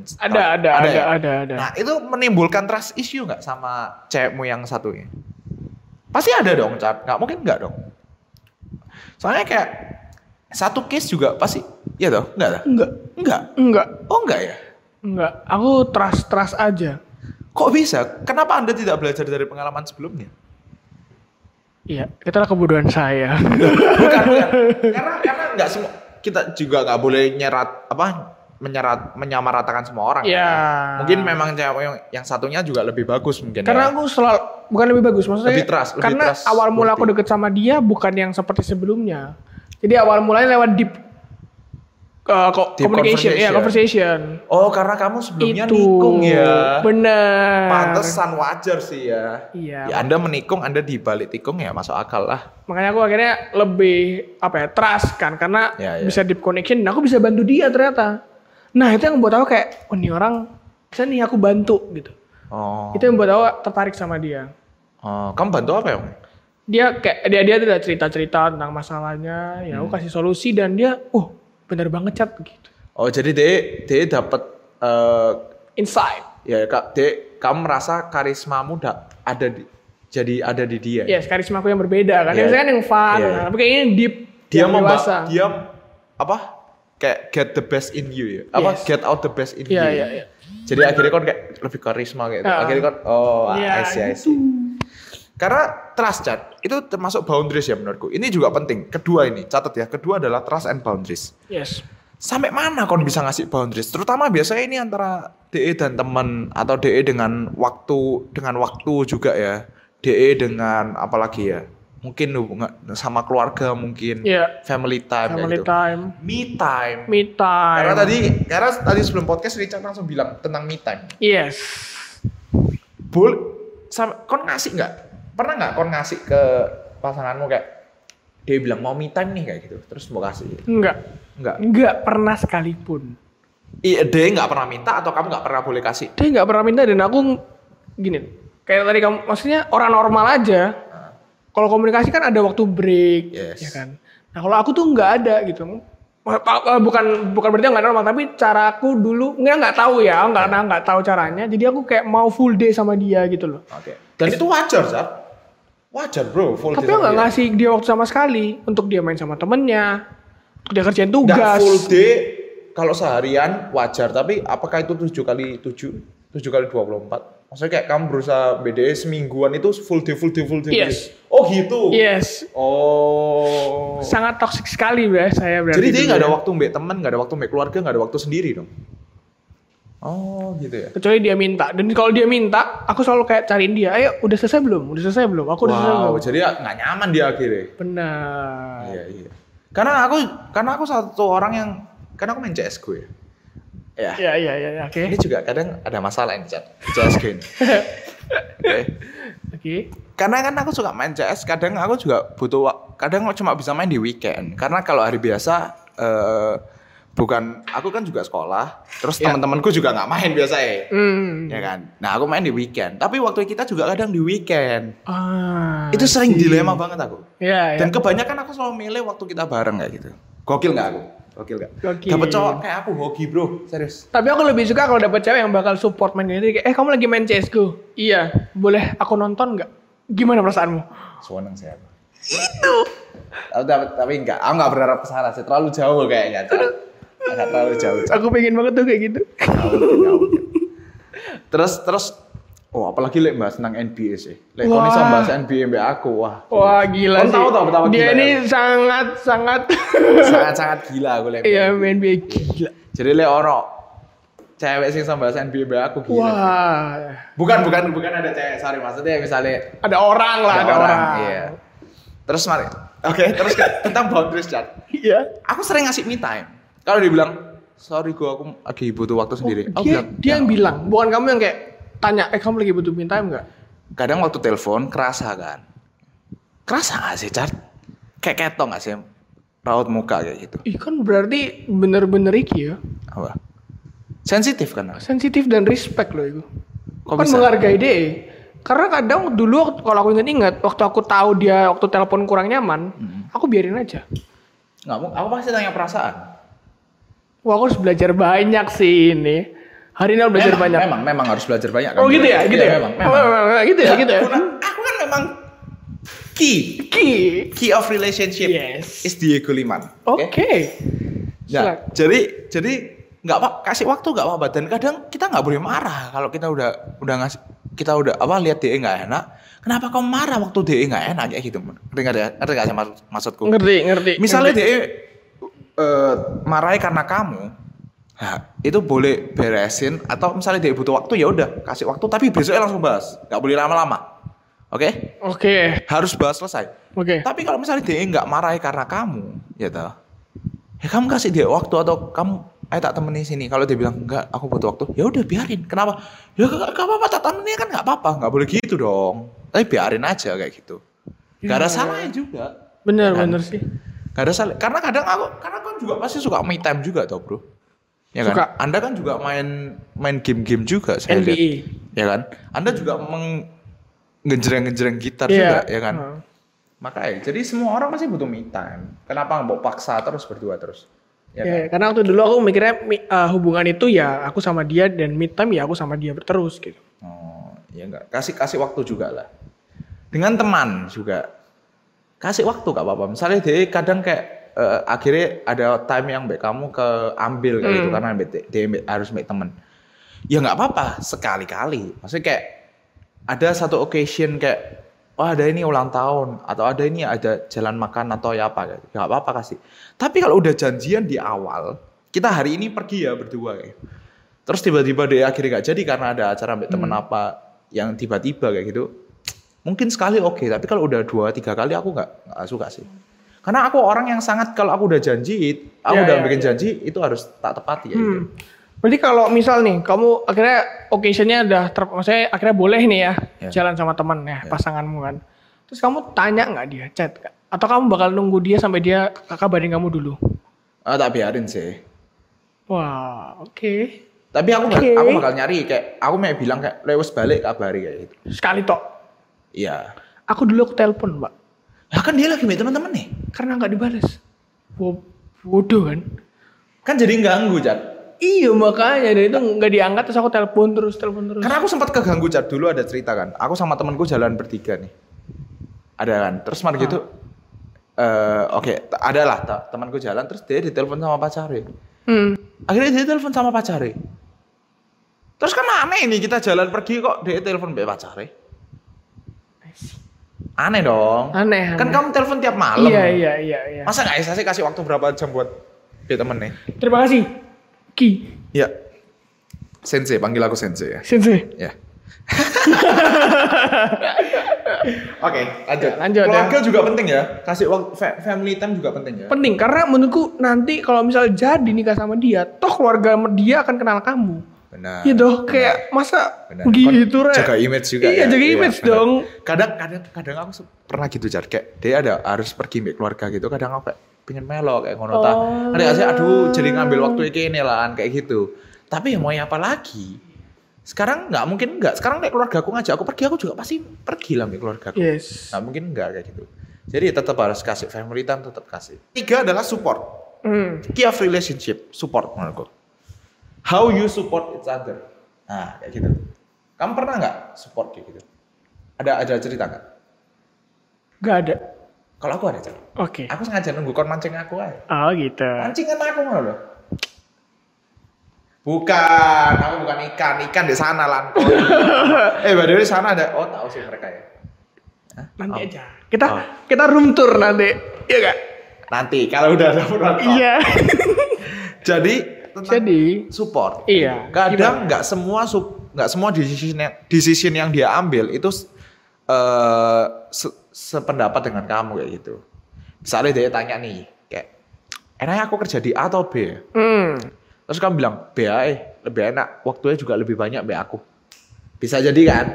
Speaker 1: terakhir?
Speaker 2: Ada, ada, ada,
Speaker 1: ya?
Speaker 2: ada, ada.
Speaker 1: Nah itu menimbulkan trust issue nggak sama cewekmu yang satu ini? Pasti ada dong, Cat. Nggak mungkin nggak dong. Soalnya kayak satu case juga pasti, ya toh, nggak toh?
Speaker 2: Enggak.
Speaker 1: Nggak.
Speaker 2: Enggak.
Speaker 1: Oh nggak ya?
Speaker 2: Enggak. Aku trust trust aja.
Speaker 1: Kok bisa? Kenapa anda tidak belajar dari pengalaman sebelumnya?
Speaker 2: Iya, itulah kebodohan saya.
Speaker 1: Bukan, bukan. karena karena nggak semua kita juga nggak boleh nyerat apa menyerat menyamaratakan semua orang. kan ya.
Speaker 2: Iya.
Speaker 1: Mungkin memang cewek yang, yang satunya juga lebih bagus mungkin. ya.
Speaker 2: Karena aku selalu bukan lebih bagus maksudnya.
Speaker 1: Lebih trust, lebih
Speaker 2: karena
Speaker 1: trust
Speaker 2: awal mula aku
Speaker 1: quality.
Speaker 2: deket sama dia bukan yang seperti sebelumnya. Jadi awal mulanya lewat deep, uh, ko-
Speaker 1: Deep
Speaker 2: communication, ya conversation.
Speaker 1: Oh, karena kamu sebelumnya
Speaker 2: Itu
Speaker 1: nikung ya.
Speaker 2: bener.
Speaker 1: Pantesan wajar sih ya.
Speaker 2: Iya.
Speaker 1: Ya Anda menikung, Anda di balik tikung ya masuk akal lah.
Speaker 2: Makanya aku akhirnya lebih apa ya trust kan karena
Speaker 1: Iya, iya.
Speaker 2: bisa deep connection. Nah, aku bisa bantu dia ternyata. Nah itu yang buat aku kayak, oh ini orang bisa nih aku bantu gitu.
Speaker 1: Oh.
Speaker 2: Itu yang buat aku tertarik sama dia.
Speaker 1: Oh, kamu bantu apa ya? Om?
Speaker 2: dia kayak dia dia ada cerita cerita tentang masalahnya ya
Speaker 1: Hmm.
Speaker 2: aku kasih solusi dan dia uh bener banget chat gitu
Speaker 1: Oh, jadi dia dia dapat eh,
Speaker 2: inside
Speaker 1: ya kak dia kamu merasa karismamu da, ada di jadi ada di dia. ya?
Speaker 2: yes karisma aku yang berbeda kan
Speaker 1: Iya.
Speaker 2: biasanya kan yang fun
Speaker 1: Iya.
Speaker 2: nah, tapi kayaknya yang deep
Speaker 1: Dia
Speaker 2: yang
Speaker 1: memba-
Speaker 2: dewasa.
Speaker 1: dia apa? Kayak get the best in you ya. Apa
Speaker 2: Yes.
Speaker 1: get out the best in
Speaker 2: Iya,
Speaker 1: you. ya?
Speaker 2: iya, iya.
Speaker 1: Jadi akhirnya kan kayak lebih karisma gitu.
Speaker 2: Ah.
Speaker 1: Akhirnya kan oh,
Speaker 2: Iya,
Speaker 1: I see, I see. Karena trust chat itu termasuk boundaries ya menurutku. Ini juga penting. Kedua ini catat ya. Kedua adalah trust and boundaries.
Speaker 2: yes
Speaker 1: Sampai mana kon bisa ngasih boundaries? Terutama biasanya ini antara DE dan teman atau DE dengan waktu dengan waktu juga ya. DE dengan apalagi ya? Mungkin hubungan sama keluarga mungkin.
Speaker 2: Iya.
Speaker 1: Family time kayak
Speaker 2: family
Speaker 1: gitu.
Speaker 2: time
Speaker 1: Me time.
Speaker 2: me time
Speaker 1: Karena tadi karena tadi sebelum podcast Richard langsung bilang tentang me time.
Speaker 2: yes
Speaker 1: Bol sama kon ngasih nggak pernah nggak kon ngasih ke pasanganmu kayak dia bilang mau me time nih kayak gitu terus mau kasih
Speaker 2: Enggak,
Speaker 1: nggak
Speaker 2: enggak pernah sekalipun.
Speaker 1: iya dia nggak pernah minta atau kamu nggak pernah boleh kasih
Speaker 2: Dia nggak pernah minta dan aku ng- gini, kayak tadi kamu, maksudnya orang normal aja. Kalau komunikasi kan ada waktu break,
Speaker 1: Yes.
Speaker 2: ya kan. Nah kalau aku tuh nggak ada gitu. Ma- ma- Bukan bukan berarti nggak normal, tapi caraku dulu nggak nggak tahu ya, nggak nah, nggak tahu caranya. Jadi aku kayak mau full day sama dia gitu loh.
Speaker 1: oke dan itu wajar Zar wajar bro full
Speaker 2: Tapi
Speaker 1: day
Speaker 2: aku
Speaker 1: sama
Speaker 2: nggak
Speaker 1: dia.
Speaker 2: ngasih dia waktu sama sekali untuk dia main sama temennya, untuk dia kerjain
Speaker 1: Nggak,
Speaker 2: tugas.
Speaker 1: full day kalau seharian wajar tapi apakah itu tujuh kali tujuh tujuh kali dua puluh empat maksudnya kayak kamu berusaha BDE semingguan itu full day full day full day full
Speaker 2: Yes.
Speaker 1: day. oh gitu
Speaker 2: Yes,
Speaker 1: oh
Speaker 2: sangat toksik sekali ya saya berarti.
Speaker 1: Jadi dia
Speaker 2: dulu
Speaker 1: nggak ada
Speaker 2: ya.
Speaker 1: waktu mbak teman, nggak ada waktu mbak keluarga, nggak ada waktu sendiri dong. Oh gitu ya.
Speaker 2: kecuali dia minta. Dan kalau dia minta, aku selalu kayak cariin dia. Ayo, udah selesai belum? Udah selesai belum? Aku udah selesai
Speaker 1: wow,
Speaker 2: belum?
Speaker 1: jadi nggak nyaman dia akhirnya.
Speaker 2: Benar.
Speaker 1: Iya iya. Karena aku karena aku satu orang yang karena aku main CS gue. Ya.
Speaker 2: Iya, iya, iya, iya, oke.
Speaker 1: Ini juga kadang ada masalah ini chat CS gue. ini. Oke.
Speaker 2: Oke.
Speaker 1: Karena kan aku suka main CS, kadang aku juga butuh wa- kadang cuma bisa main di weekend. Karena kalau hari biasa eh, bukan aku kan juga sekolah, terus teman-temanku juga nggak main biasanya.
Speaker 2: Hmm.
Speaker 1: ya kan. Nah aku main di weekend, tapi waktu kita juga kadang di weekend.
Speaker 2: Ah.
Speaker 1: itu sering dilema banget aku.
Speaker 2: Iya, iya.
Speaker 1: Dan kebanyakan aku selalu milih waktu kita bareng kayak gitu. Gokil nggak aku? Gokil nggak?
Speaker 2: Gokil.
Speaker 1: Dapet cowok kayak aku hoki bro, serius.
Speaker 2: Tapi aku lebih suka kalau dapet cewek yang bakal support main gini. Jadi kayak, eh kamu lagi main CSGO? Iya. Boleh aku nonton nggak? Gimana perasaanmu?
Speaker 1: Seneng sih aku. Tapi, tapi, tapi nggak, aku nggak berharap ke sana sih. Terlalu jauh kayaknya. Cak. Nggak terlalu jauh. Cak.
Speaker 2: Aku pengen banget tuh kayak gitu.
Speaker 1: Nggak mungkin, nggak mungkin. Terus terus, oh apalagi lek bahas tentang NBA sih. Lek kau
Speaker 2: Wah.
Speaker 1: bisa bahas NBA mbak aku, wah.
Speaker 2: Wah gila
Speaker 1: Kau
Speaker 2: sih.
Speaker 1: tahu tau betapa
Speaker 2: dia
Speaker 1: gila
Speaker 2: ini
Speaker 1: ya?
Speaker 2: sangat sangat
Speaker 1: Sangat-sangat gila aku lek.
Speaker 2: iya main NBA gila.
Speaker 1: Jadi le oro cewek sih sama bahasa NBA aku gila.
Speaker 2: Wah.
Speaker 1: Bukan bukan bukan ada cewek, sorry maksudnya misalnya
Speaker 2: ada orang lah, ada, orang.
Speaker 1: Iya. Terus mari. Oke, terus ke- tentang boundaries chat.
Speaker 2: Iya.
Speaker 1: Aku sering ngasih me time. Kalau dibilang, "Sorry gua aku lagi butuh waktu sendiri." Aku
Speaker 2: Oh, dia,
Speaker 1: bilang, "Ya
Speaker 2: dia yang bilang, bukan kamu yang kayak tanya, eh kamu lagi butuh me time nggak?
Speaker 1: "Nah, kadang waktu telepon kerasa kan. Kerasa gak sih, Chat? Kayak ketok gak sih? Raut muka kayak gitu.
Speaker 2: Ih kan berarti bener-bener iki ya,
Speaker 1: Apa? Sensitif kan?
Speaker 2: sensitif dan respect loh itu.
Speaker 1: Kok
Speaker 2: kan
Speaker 1: bisa?
Speaker 2: menghargai dia. Karena kadang dulu waktu- kalau aku ingat-ingat, waktu aku tahu dia waktu telepon kurang nyaman,
Speaker 1: Hmm.
Speaker 2: aku biarin aja.
Speaker 1: Nggak mau, aku pasti tanya perasaan.
Speaker 2: Wah aku harus belajar banyak sih ini. Hari ini aku belajar
Speaker 1: memang,
Speaker 2: banyak.
Speaker 1: Memang, memang harus belajar banyak.
Speaker 2: Oh gitu ya, gitu
Speaker 1: Iya,
Speaker 2: ya.
Speaker 1: Memang,
Speaker 2: Oh,
Speaker 1: memang.
Speaker 2: gitu ya, gitu ya.
Speaker 1: Aku, aku kan memang key
Speaker 2: Ki.
Speaker 1: key of relationship
Speaker 2: Yes.
Speaker 1: is Diego Liman.
Speaker 2: Oke.
Speaker 1: Nah,
Speaker 2: Silakan.
Speaker 1: jadi jadi nggak apa kasih waktu nggak apa-apa dan kadang kita nggak boleh marah kalau kita udah udah ngasih kita udah apa lihat dia nggak enak. Kenapa kamu marah waktu dia nggak enak kayak gitu? Ngerti nggak ya? Ngerti nggak sih maksud- maksudku?
Speaker 2: Ngerti, ngerti.
Speaker 1: Misalnya dia eh, marahi karena kamu, ha, itu boleh beresin atau misalnya dia butuh waktu ya udah kasih waktu tapi besoknya langsung bahas, nggak boleh lama-lama, oke?
Speaker 2: Oke,
Speaker 1: Harus bahas selesai.
Speaker 2: oke.
Speaker 1: Tapi kalau misalnya dia nggak marahi karena kamu, ya toh, ya kamu kasih dia waktu atau kamu eh tak temenin sini kalau dia bilang enggak aku butuh waktu ya udah biarin kenapa ya nggak nggak apa-apa tak temenin kan nggak apa-apa nggak boleh gitu dong tapi biarin aja kayak gitu nggak ada salahnya juga
Speaker 2: Bener,
Speaker 1: Kan?
Speaker 2: bener sih.
Speaker 1: Gak ada salah. Karena kadang aku, karena kan juga pasti suka me time juga toh bro. Ya kan?
Speaker 2: Suka.
Speaker 1: Anda kan juga main main game-game juga saya
Speaker 2: NBA.
Speaker 1: lihat. Ya kan? Anda juga meng ngejreng-ngejreng gitar juga, ya kan?
Speaker 2: Iya. Heeh.
Speaker 1: Makanya, jadi semua orang pasti butuh me time. Kenapa mau paksa terus berdua terus? Ya
Speaker 2: Ya,
Speaker 1: kan?
Speaker 2: karena waktu dulu aku mikirnya mi- eh, hubungan itu ya aku sama dia dan mid time ya aku sama dia terus gitu.
Speaker 1: Oh, ya enggak. Kasih kasih waktu juga lah. Dengan teman juga. Kasih waktu gak apa-apa. Misalnya dia kadang kayak eh, akhirnya ada time yang mbak kamu ke ambil kayak gitu karena mbak dia mbak- harus mbak temen. Ya nggak apa-apa sekali-kali. Maksudnya kayak ada satu occasion kayak wah ada ini ulang tahun atau ada ini ada jalan makan atau ya apa kayak gitu. nggak apa-apa kasih. Tapi kalau udah janjian di awal kita hari ini pergi ya berdua kayak. gitu. Terus tiba-tiba dia akhirnya gak jadi karena ada acara ambil
Speaker 2: Hmm.
Speaker 1: temen apa yang tiba-tiba kayak gitu. Mungkin sekali oke, tapi kalau udah dua tiga kali aku nggak nggak suka sih. Karena aku orang yang sangat kalau aku udah janji, aku
Speaker 2: Ya,
Speaker 1: udah
Speaker 2: ya,
Speaker 1: bikin
Speaker 2: ya.
Speaker 1: janji itu harus tak tepati ya. gitu.
Speaker 2: Hmm. Berarti kalau misal nih, kamu akhirnya occasionnya udah ter, maksudnya akhirnya boleh nih ya,
Speaker 1: Ya.
Speaker 2: jalan sama teman ya, pasanganmu kan. Terus kamu tanya nggak dia, chat nggak? atau kamu bakal nunggu dia sampai dia kabarin kamu dulu?
Speaker 1: Ah, tak biarin sih.
Speaker 2: Wah, oke.
Speaker 1: Tapi aku bak-
Speaker 2: Oke.
Speaker 1: aku bakal nyari kayak aku mau bilang kayak lewes balik kabari kayak gitu.
Speaker 2: Sekali tok.
Speaker 1: Iya.
Speaker 2: Aku dulu aku telepon, Mbak.
Speaker 1: Lah kan dia lagi sama teman-teman nih.
Speaker 2: Karena nggak dibales. Wo- Bodoh kan?
Speaker 1: Kan jadi ganggu, Cat.
Speaker 2: Iya makanya dan itu nggak diangkat terus aku telepon terus telepon terus.
Speaker 1: Karena aku sempat keganggu Cat dulu ada cerita kan. Aku sama temanku jalan bertiga nih. Ada kan. Terus
Speaker 2: Ah.
Speaker 1: mar gitu eh oke, t- ada lah t- temanku jalan terus dia ditelepon sama pacarnya.
Speaker 2: Hmm.
Speaker 1: Akhirnya dia telepon sama pacarnya. Terus kan aneh ini kita jalan pergi kok dia telepon be pacarnya. Aneh dong.
Speaker 2: Aneh.
Speaker 1: Kan
Speaker 2: aneh.
Speaker 1: kamu telepon tiap malam.
Speaker 2: Iya iya iya iya.
Speaker 1: Masa nggak Esa sih kasih waktu berapa jam buat dia temennya?
Speaker 2: Terima kasih. Ki,
Speaker 1: Ya. Sensei, panggil aku Sensei ya.
Speaker 2: Sensei.
Speaker 1: Ya. Oke, lanjut.
Speaker 2: Ya, lanjut,
Speaker 1: Keluarga juga penting ya. Kasih waktu fa- family time juga penting ya.
Speaker 2: Penting karena menurutku nanti kalau misal jadi nikah sama dia, toh keluarga dia akan kenal kamu.
Speaker 1: Benar.
Speaker 2: Iya dong, kayak masa
Speaker 1: Benar.
Speaker 2: gitu
Speaker 1: Kon
Speaker 2: Re.
Speaker 1: Jaga image juga.
Speaker 2: Iya,
Speaker 1: ya.
Speaker 2: jaga image
Speaker 1: benar.
Speaker 2: dong.
Speaker 1: Kadang kadang kadang aku se- pernah gitu jar kayak dia ada harus pergi mbek keluarga gitu. Kadang aku kayak pengen melok kayak ngono ta.
Speaker 2: Oh.
Speaker 1: Kadang saya aduh jadi ngambil waktu iki ini lah kayak gitu. Tapi ya mau ya apa lagi? Sekarang nggak mungkin nggak. Sekarang kayak keluarga aku ngajak aku pergi aku juga pasti pergi lah mbek keluarga aku.
Speaker 2: Yes.
Speaker 1: Nggak mungkin nggak kayak gitu. Jadi tetap harus kasih family time tetap kasih. Tiga adalah support.
Speaker 2: Hmm.
Speaker 1: Key of relationship support menurutku. How you support each other. Nah kayak gitu. Kamu pernah nggak support kayak gitu? Ada ada cerita nggak?
Speaker 2: Gak ada.
Speaker 1: Kalau aku ada cerita.
Speaker 2: Oke.
Speaker 1: Aku sengaja nunggu kon mancing aku aja.
Speaker 2: Oh gitu.
Speaker 1: Mancing kan aku ngono loh. Bukan, aku bukan ikan, ikan di sana lan. eh, by the way, di sana ada oh tahu sih mereka ya. Hah?
Speaker 2: Nanti
Speaker 1: Oh.
Speaker 2: aja. Kita
Speaker 1: Oh.
Speaker 2: kita room tour nanti. Iya gak?
Speaker 1: Nanti kalau udah ada perantau.
Speaker 2: Iya.
Speaker 1: Jadi tentang
Speaker 2: Jadi,
Speaker 1: support.
Speaker 2: Iya.
Speaker 1: Kadang nggak semua sup, nggak semua decision yang, decision yang dia ambil itu eh se- sependapat dengan kamu kayak gitu. Misalnya dia tanya nih, kayak enaknya aku kerja di A atau B? ya?"
Speaker 2: hmm.
Speaker 1: Terus kamu bilang B aja, lebih enak, waktunya juga lebih banyak B aku. Bisa jadi kan?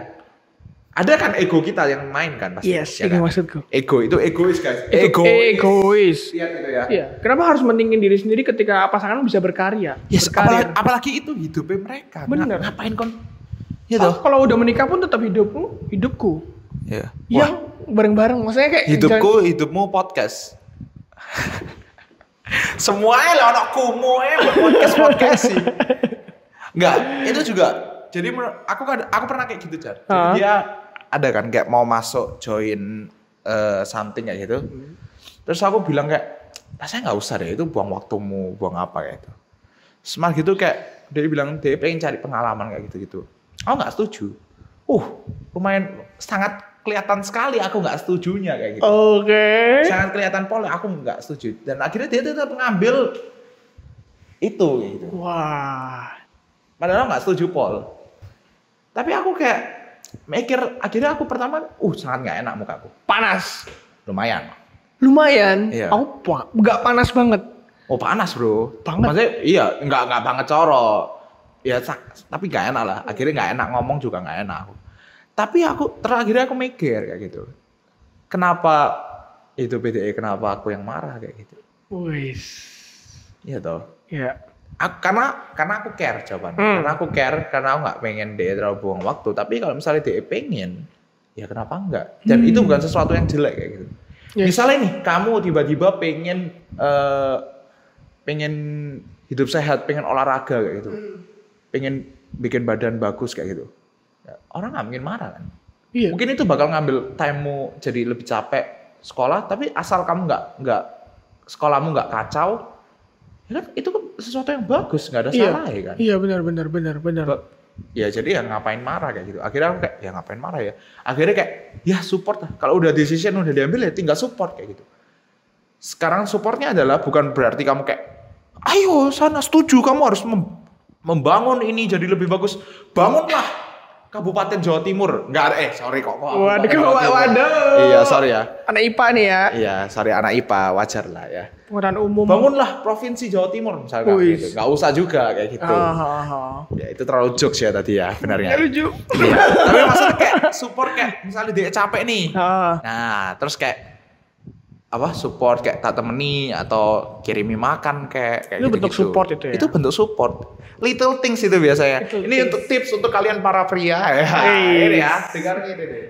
Speaker 1: Ada kan ego kita yang main kan pasti.
Speaker 2: Yes,
Speaker 1: ya
Speaker 2: ini
Speaker 1: kan?
Speaker 2: maksudku.
Speaker 1: Ego itu egois guys.
Speaker 2: Itu egois.
Speaker 1: Lihat itu ya.
Speaker 2: Iya. Kenapa harus mendingin diri sendiri ketika pasangan bisa berkarya?
Speaker 1: Yes, apalagi,
Speaker 2: berkarya.
Speaker 1: apalagi itu hidupnya mereka.
Speaker 2: Bener. Iya
Speaker 1: Nga- Ngapain kon? Gitu.
Speaker 2: Toh, Ah, kalau udah menikah pun tetap hidupku, hidupku.
Speaker 1: Iya.
Speaker 2: Iya,
Speaker 1: Wah,
Speaker 2: bareng-bareng. Maksudnya kayak
Speaker 1: hidupku, hidupmu podcast. Semuanya lah anak kumu eh podcast podcast sih. Enggak, itu juga. Jadi menur- aku kad- aku pernah kayak gitu, Jar. Jadi
Speaker 2: Ah.
Speaker 1: dia ada kan kayak mau masuk join eh, something kayak gitu. Terus aku bilang kayak rasanya nggak usah deh itu buang waktumu, buang apa kayak gitu." itu. Smart gitu kayak dia bilang dia pengen cari pengalaman kayak gitu-gitu. Aku nggak setuju. Uh, lumayan sangat kelihatan sekali aku nggak setujunya kayak
Speaker 2: Jan-
Speaker 1: gitu.
Speaker 2: Oke.
Speaker 1: Sangat kelihatan pola aku nggak setuju. Dan akhirnya dia tetap mengambil itu kayak gitu.
Speaker 2: Wah.
Speaker 1: Padahal nggak setuju Pol. Tapi aku kayak mikir akhirnya aku pertama, uh sangat nggak enak mukaku.
Speaker 2: Panas.
Speaker 1: Lumayan.
Speaker 2: Lumayan.
Speaker 1: Iya.
Speaker 2: Aku pa- nggak panas banget.
Speaker 1: Oh panas bro.
Speaker 2: Banget.
Speaker 1: Maksudnya iya nggak nggak banget coro. Ya sak- tapi nggak enak lah. Akhirnya nggak enak ngomong juga nggak enak aku. Tapi aku terakhir aku mikir kayak gitu. Kenapa itu PDE kenapa aku yang marah kayak gitu?
Speaker 2: Wis.
Speaker 1: Iya toh.
Speaker 2: Ya.
Speaker 1: Aku- karena karena aku care jawabannya.
Speaker 2: Hmm.
Speaker 1: Karena aku care karena aku nggak pengen dia terlalu buang waktu. Tapi kalau misalnya dia pengen, ya kenapa enggak? Dan itu bukan sesuatu yang jelek kayak gitu.
Speaker 2: Hmm. Yes.
Speaker 1: Misalnya nih, kamu tiba-tiba pengen eh, pengen hidup sehat, pengen olahraga kayak gitu,
Speaker 2: Hmm.
Speaker 1: pengen bikin badan bagus kayak gitu, Ya, orang nggak mungkin marah kan?
Speaker 2: Iya.
Speaker 1: Mungkin itu bakal ngambil timemu jadi lebih capek sekolah, tapi asal kamu nggak nggak sekolahmu nggak kacau, ya kan itu kan sesuatu yang bagus nggak ada
Speaker 2: Iya.
Speaker 1: salah ya kan?
Speaker 2: Iya benar benar benar benar.
Speaker 1: Ba- ya jadi ya ngapain marah kayak gitu akhirnya aku kayak ya ngapain marah ya akhirnya kayak ya support lah kalau udah decision udah diambil ya tinggal support kayak gitu sekarang supportnya adalah bukan berarti kamu kayak ayo sana setuju kamu harus mem- membangun ini jadi lebih bagus bangunlah Kabupaten Jawa Timur. Enggak ada eh sorry kok. kok aku
Speaker 2: Waduh,
Speaker 1: Kabupaten Jawa Timur.
Speaker 2: waduh.
Speaker 1: Iya, sorry ya.
Speaker 2: Anak IPA nih ya.
Speaker 1: Iya, sorry anak IPA, wajar lah ya.
Speaker 2: Pengetahuan umum.
Speaker 1: Bangunlah provinsi Jawa Timur misalnya
Speaker 2: Wih.
Speaker 1: gitu. Enggak usah juga kayak gitu.
Speaker 2: Ah, ah, ah.
Speaker 1: Ya itu terlalu jokes ya tadi ya
Speaker 2: Ya
Speaker 1: benarnya.
Speaker 2: lucu.
Speaker 1: Iya. Tapi maksudnya kayak support kayak misalnya dia capek nih.
Speaker 2: Ah,
Speaker 1: Nah, terus kayak apa support kayak tak temeni atau kirimi makan kayak kayak
Speaker 2: Itu bentuk
Speaker 1: gitu-gitu.
Speaker 2: support itu ya?
Speaker 1: Itu bentuk support. Little things itu biasanya. ini
Speaker 2: Little things. Iya.
Speaker 1: untuk tips untuk kalian para pria ya.
Speaker 2: Wih.
Speaker 1: Ini ya, dengar ini deh.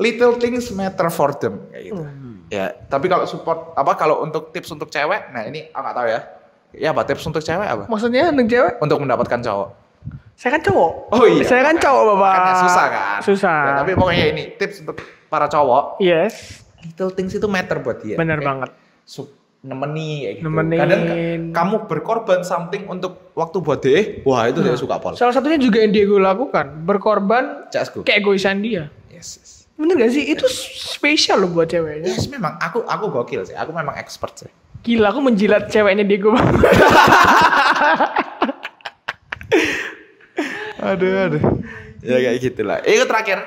Speaker 1: Little things matter for them kayak
Speaker 2: Hmm.
Speaker 1: gitu. Ya, tapi kalau support apa kalau untuk tips untuk cewek, nah ini aku nggak tahu ya. Ya apa tips untuk cewek apa?
Speaker 2: maksudnya neng cewek?
Speaker 1: Untuk mendapatkan cowok.
Speaker 2: Saya kan cowok.
Speaker 1: Oh iya.
Speaker 2: Saya kan cowok, Bapak.
Speaker 1: Kan ya susah kan?
Speaker 2: Susah.
Speaker 1: Ya, tapi pokoknya ini tips untuk para cowok.
Speaker 2: Yes,
Speaker 1: Little things itu matter buat dia.
Speaker 2: benar
Speaker 1: Kayak
Speaker 2: banget.
Speaker 1: sup, nemeni kayak gitu.
Speaker 2: Nemenin.
Speaker 1: Kadang ka- kamu berkorban something untuk waktu buat dia, wah itu
Speaker 2: Nah.
Speaker 1: dia suka pol.
Speaker 2: Salah satunya juga yang Diego lakukan, berkorban
Speaker 1: Casku.
Speaker 2: keegoisan dia.
Speaker 1: Yes, yes.
Speaker 2: Bener gak sih? Itu spesial loh buat ceweknya.
Speaker 1: Yes, memang aku aku gokil sih. Aku memang expert sih.
Speaker 2: Gila, aku menjilat ceweknya Diego banget.
Speaker 1: Aduh, aduh. Ya kayak gitulah. Itu terakhir.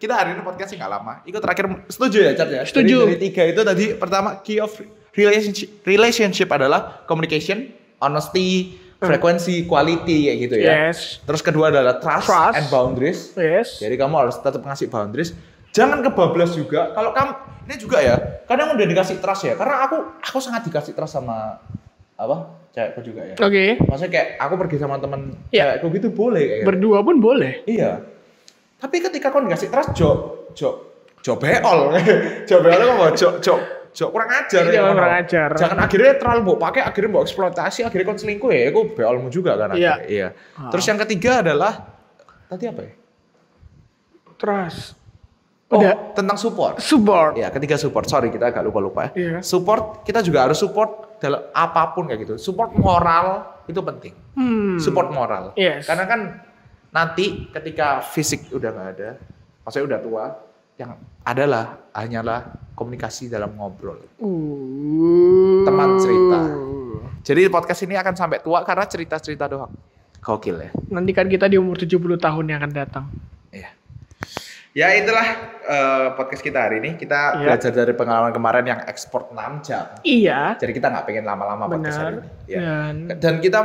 Speaker 1: Kita hari ini podcastnya nggak lama. Itu terakhir setuju ya, Cat ya?
Speaker 2: Setuju.
Speaker 1: Jadi dari tiga itu tadi pertama key of relationship relationship adalah communication, honesty,
Speaker 2: Hmm.
Speaker 1: frekuensi, quality kayak gitu ya.
Speaker 2: Yes.
Speaker 1: Terus kedua adalah trust,
Speaker 2: Trust.
Speaker 1: and boundaries.
Speaker 2: Yes.
Speaker 1: Jadi kamu harus tetap ngasih boundaries. Jangan kebablas juga. Kalau kamu ini juga ya, kadang udah dikasih trust ya. Karena aku aku sangat dikasih trust sama apa? Cewekku juga ya.
Speaker 2: Oke.
Speaker 1: Maksudnya kayak aku pergi sama temen
Speaker 2: Iya.
Speaker 1: cewekku gitu boleh kayak. gitu.
Speaker 2: Berdua pun boleh.
Speaker 1: iya. Tapi ketika kau dikasih trust jo jo jo beol. jo beol kok mau jo jo jo kurang ajar.
Speaker 2: Iya,
Speaker 1: ya,
Speaker 2: kurang
Speaker 1: ngono.
Speaker 2: ajar.
Speaker 1: Jangan akhirnya terlalu mbok pakai akhirnya mbok eksploitasi akhirnya kon selingkuh ya. Aku beolmu juga kan
Speaker 2: Iya.
Speaker 1: akhirnya. Iya.
Speaker 2: Ah.
Speaker 1: Terus yang ketiga adalah tadi apa ya?
Speaker 2: Trust.
Speaker 1: Oh,
Speaker 2: Udah.
Speaker 1: tentang support.
Speaker 2: Support.
Speaker 1: Ya, ketiga support. Sorry, kita agak lupa-lupa. ya.
Speaker 2: Iya.
Speaker 1: Support, kita juga harus support dalam apapun kayak gitu. Support moral itu penting.
Speaker 2: Hmm.
Speaker 1: Support moral.
Speaker 2: Yes.
Speaker 1: Karena kan nanti ketika fisik udah nggak ada, maksudnya udah tua, yang adalah hanyalah komunikasi dalam ngobrol.
Speaker 2: Uh.
Speaker 1: Teman cerita. Jadi podcast ini akan sampai tua karena cerita-cerita doang. Gokil ya.
Speaker 2: Nanti kan kita di umur 70 tahun yang akan datang.
Speaker 1: Iya. Ya itulah eh, podcast kita hari ini. Kita
Speaker 2: Iya.
Speaker 1: belajar dari pengalaman kemarin yang ekspor 6 jam.
Speaker 2: Iya.
Speaker 1: Jadi kita nggak pengen lama-lama podcast hari
Speaker 2: Benar. Iya.
Speaker 1: ini. Ya.
Speaker 2: Dan
Speaker 1: Dan kita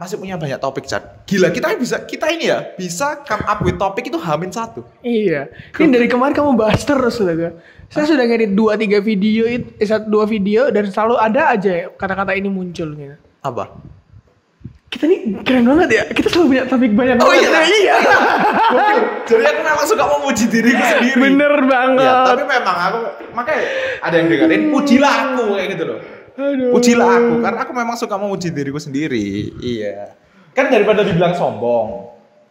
Speaker 1: masih punya banyak topik chat. Gila kita bisa kita ini ya bisa come up with topik itu hamin satu.
Speaker 2: Iya. Ini dari kemarin kamu bahas terus loh. Kak. Saya sudah ngedit 2 3 video, it- eh, satu dua video dan selalu ada aja ya kata-kata ini muncul gitu.
Speaker 1: Apa?
Speaker 2: Kita nih keren banget ya. Kita selalu punya topik banyak
Speaker 1: Oh iya.
Speaker 2: banget. Nah, iya.
Speaker 1: Gokil. Jadi aku memang suka memuji diriku sendiri.
Speaker 2: Bener banget.
Speaker 1: Ya, tapi memang aku makanya ada yang dengerin pujilah aku kayak gitu loh.
Speaker 2: Aduh.
Speaker 1: Pujilah aku kan. karena aku memang suka memuji diriku sendiri. Iya. Kan daripada dibilang sombong.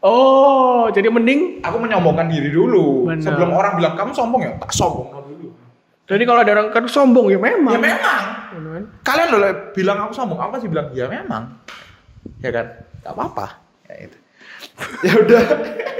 Speaker 2: Oh, jadi mending
Speaker 1: aku menyombongkan diri dulu
Speaker 2: Benar.
Speaker 1: sebelum orang bilang kamu sombong ya tak sombong dulu
Speaker 2: jadi kalau ada orang kan sombong ya memang.
Speaker 1: ya memang
Speaker 2: Gitu kan.
Speaker 1: kalian loh bilang aku sombong aku masih bilang ya memang ya kan gak apa-apa ya itu ya udah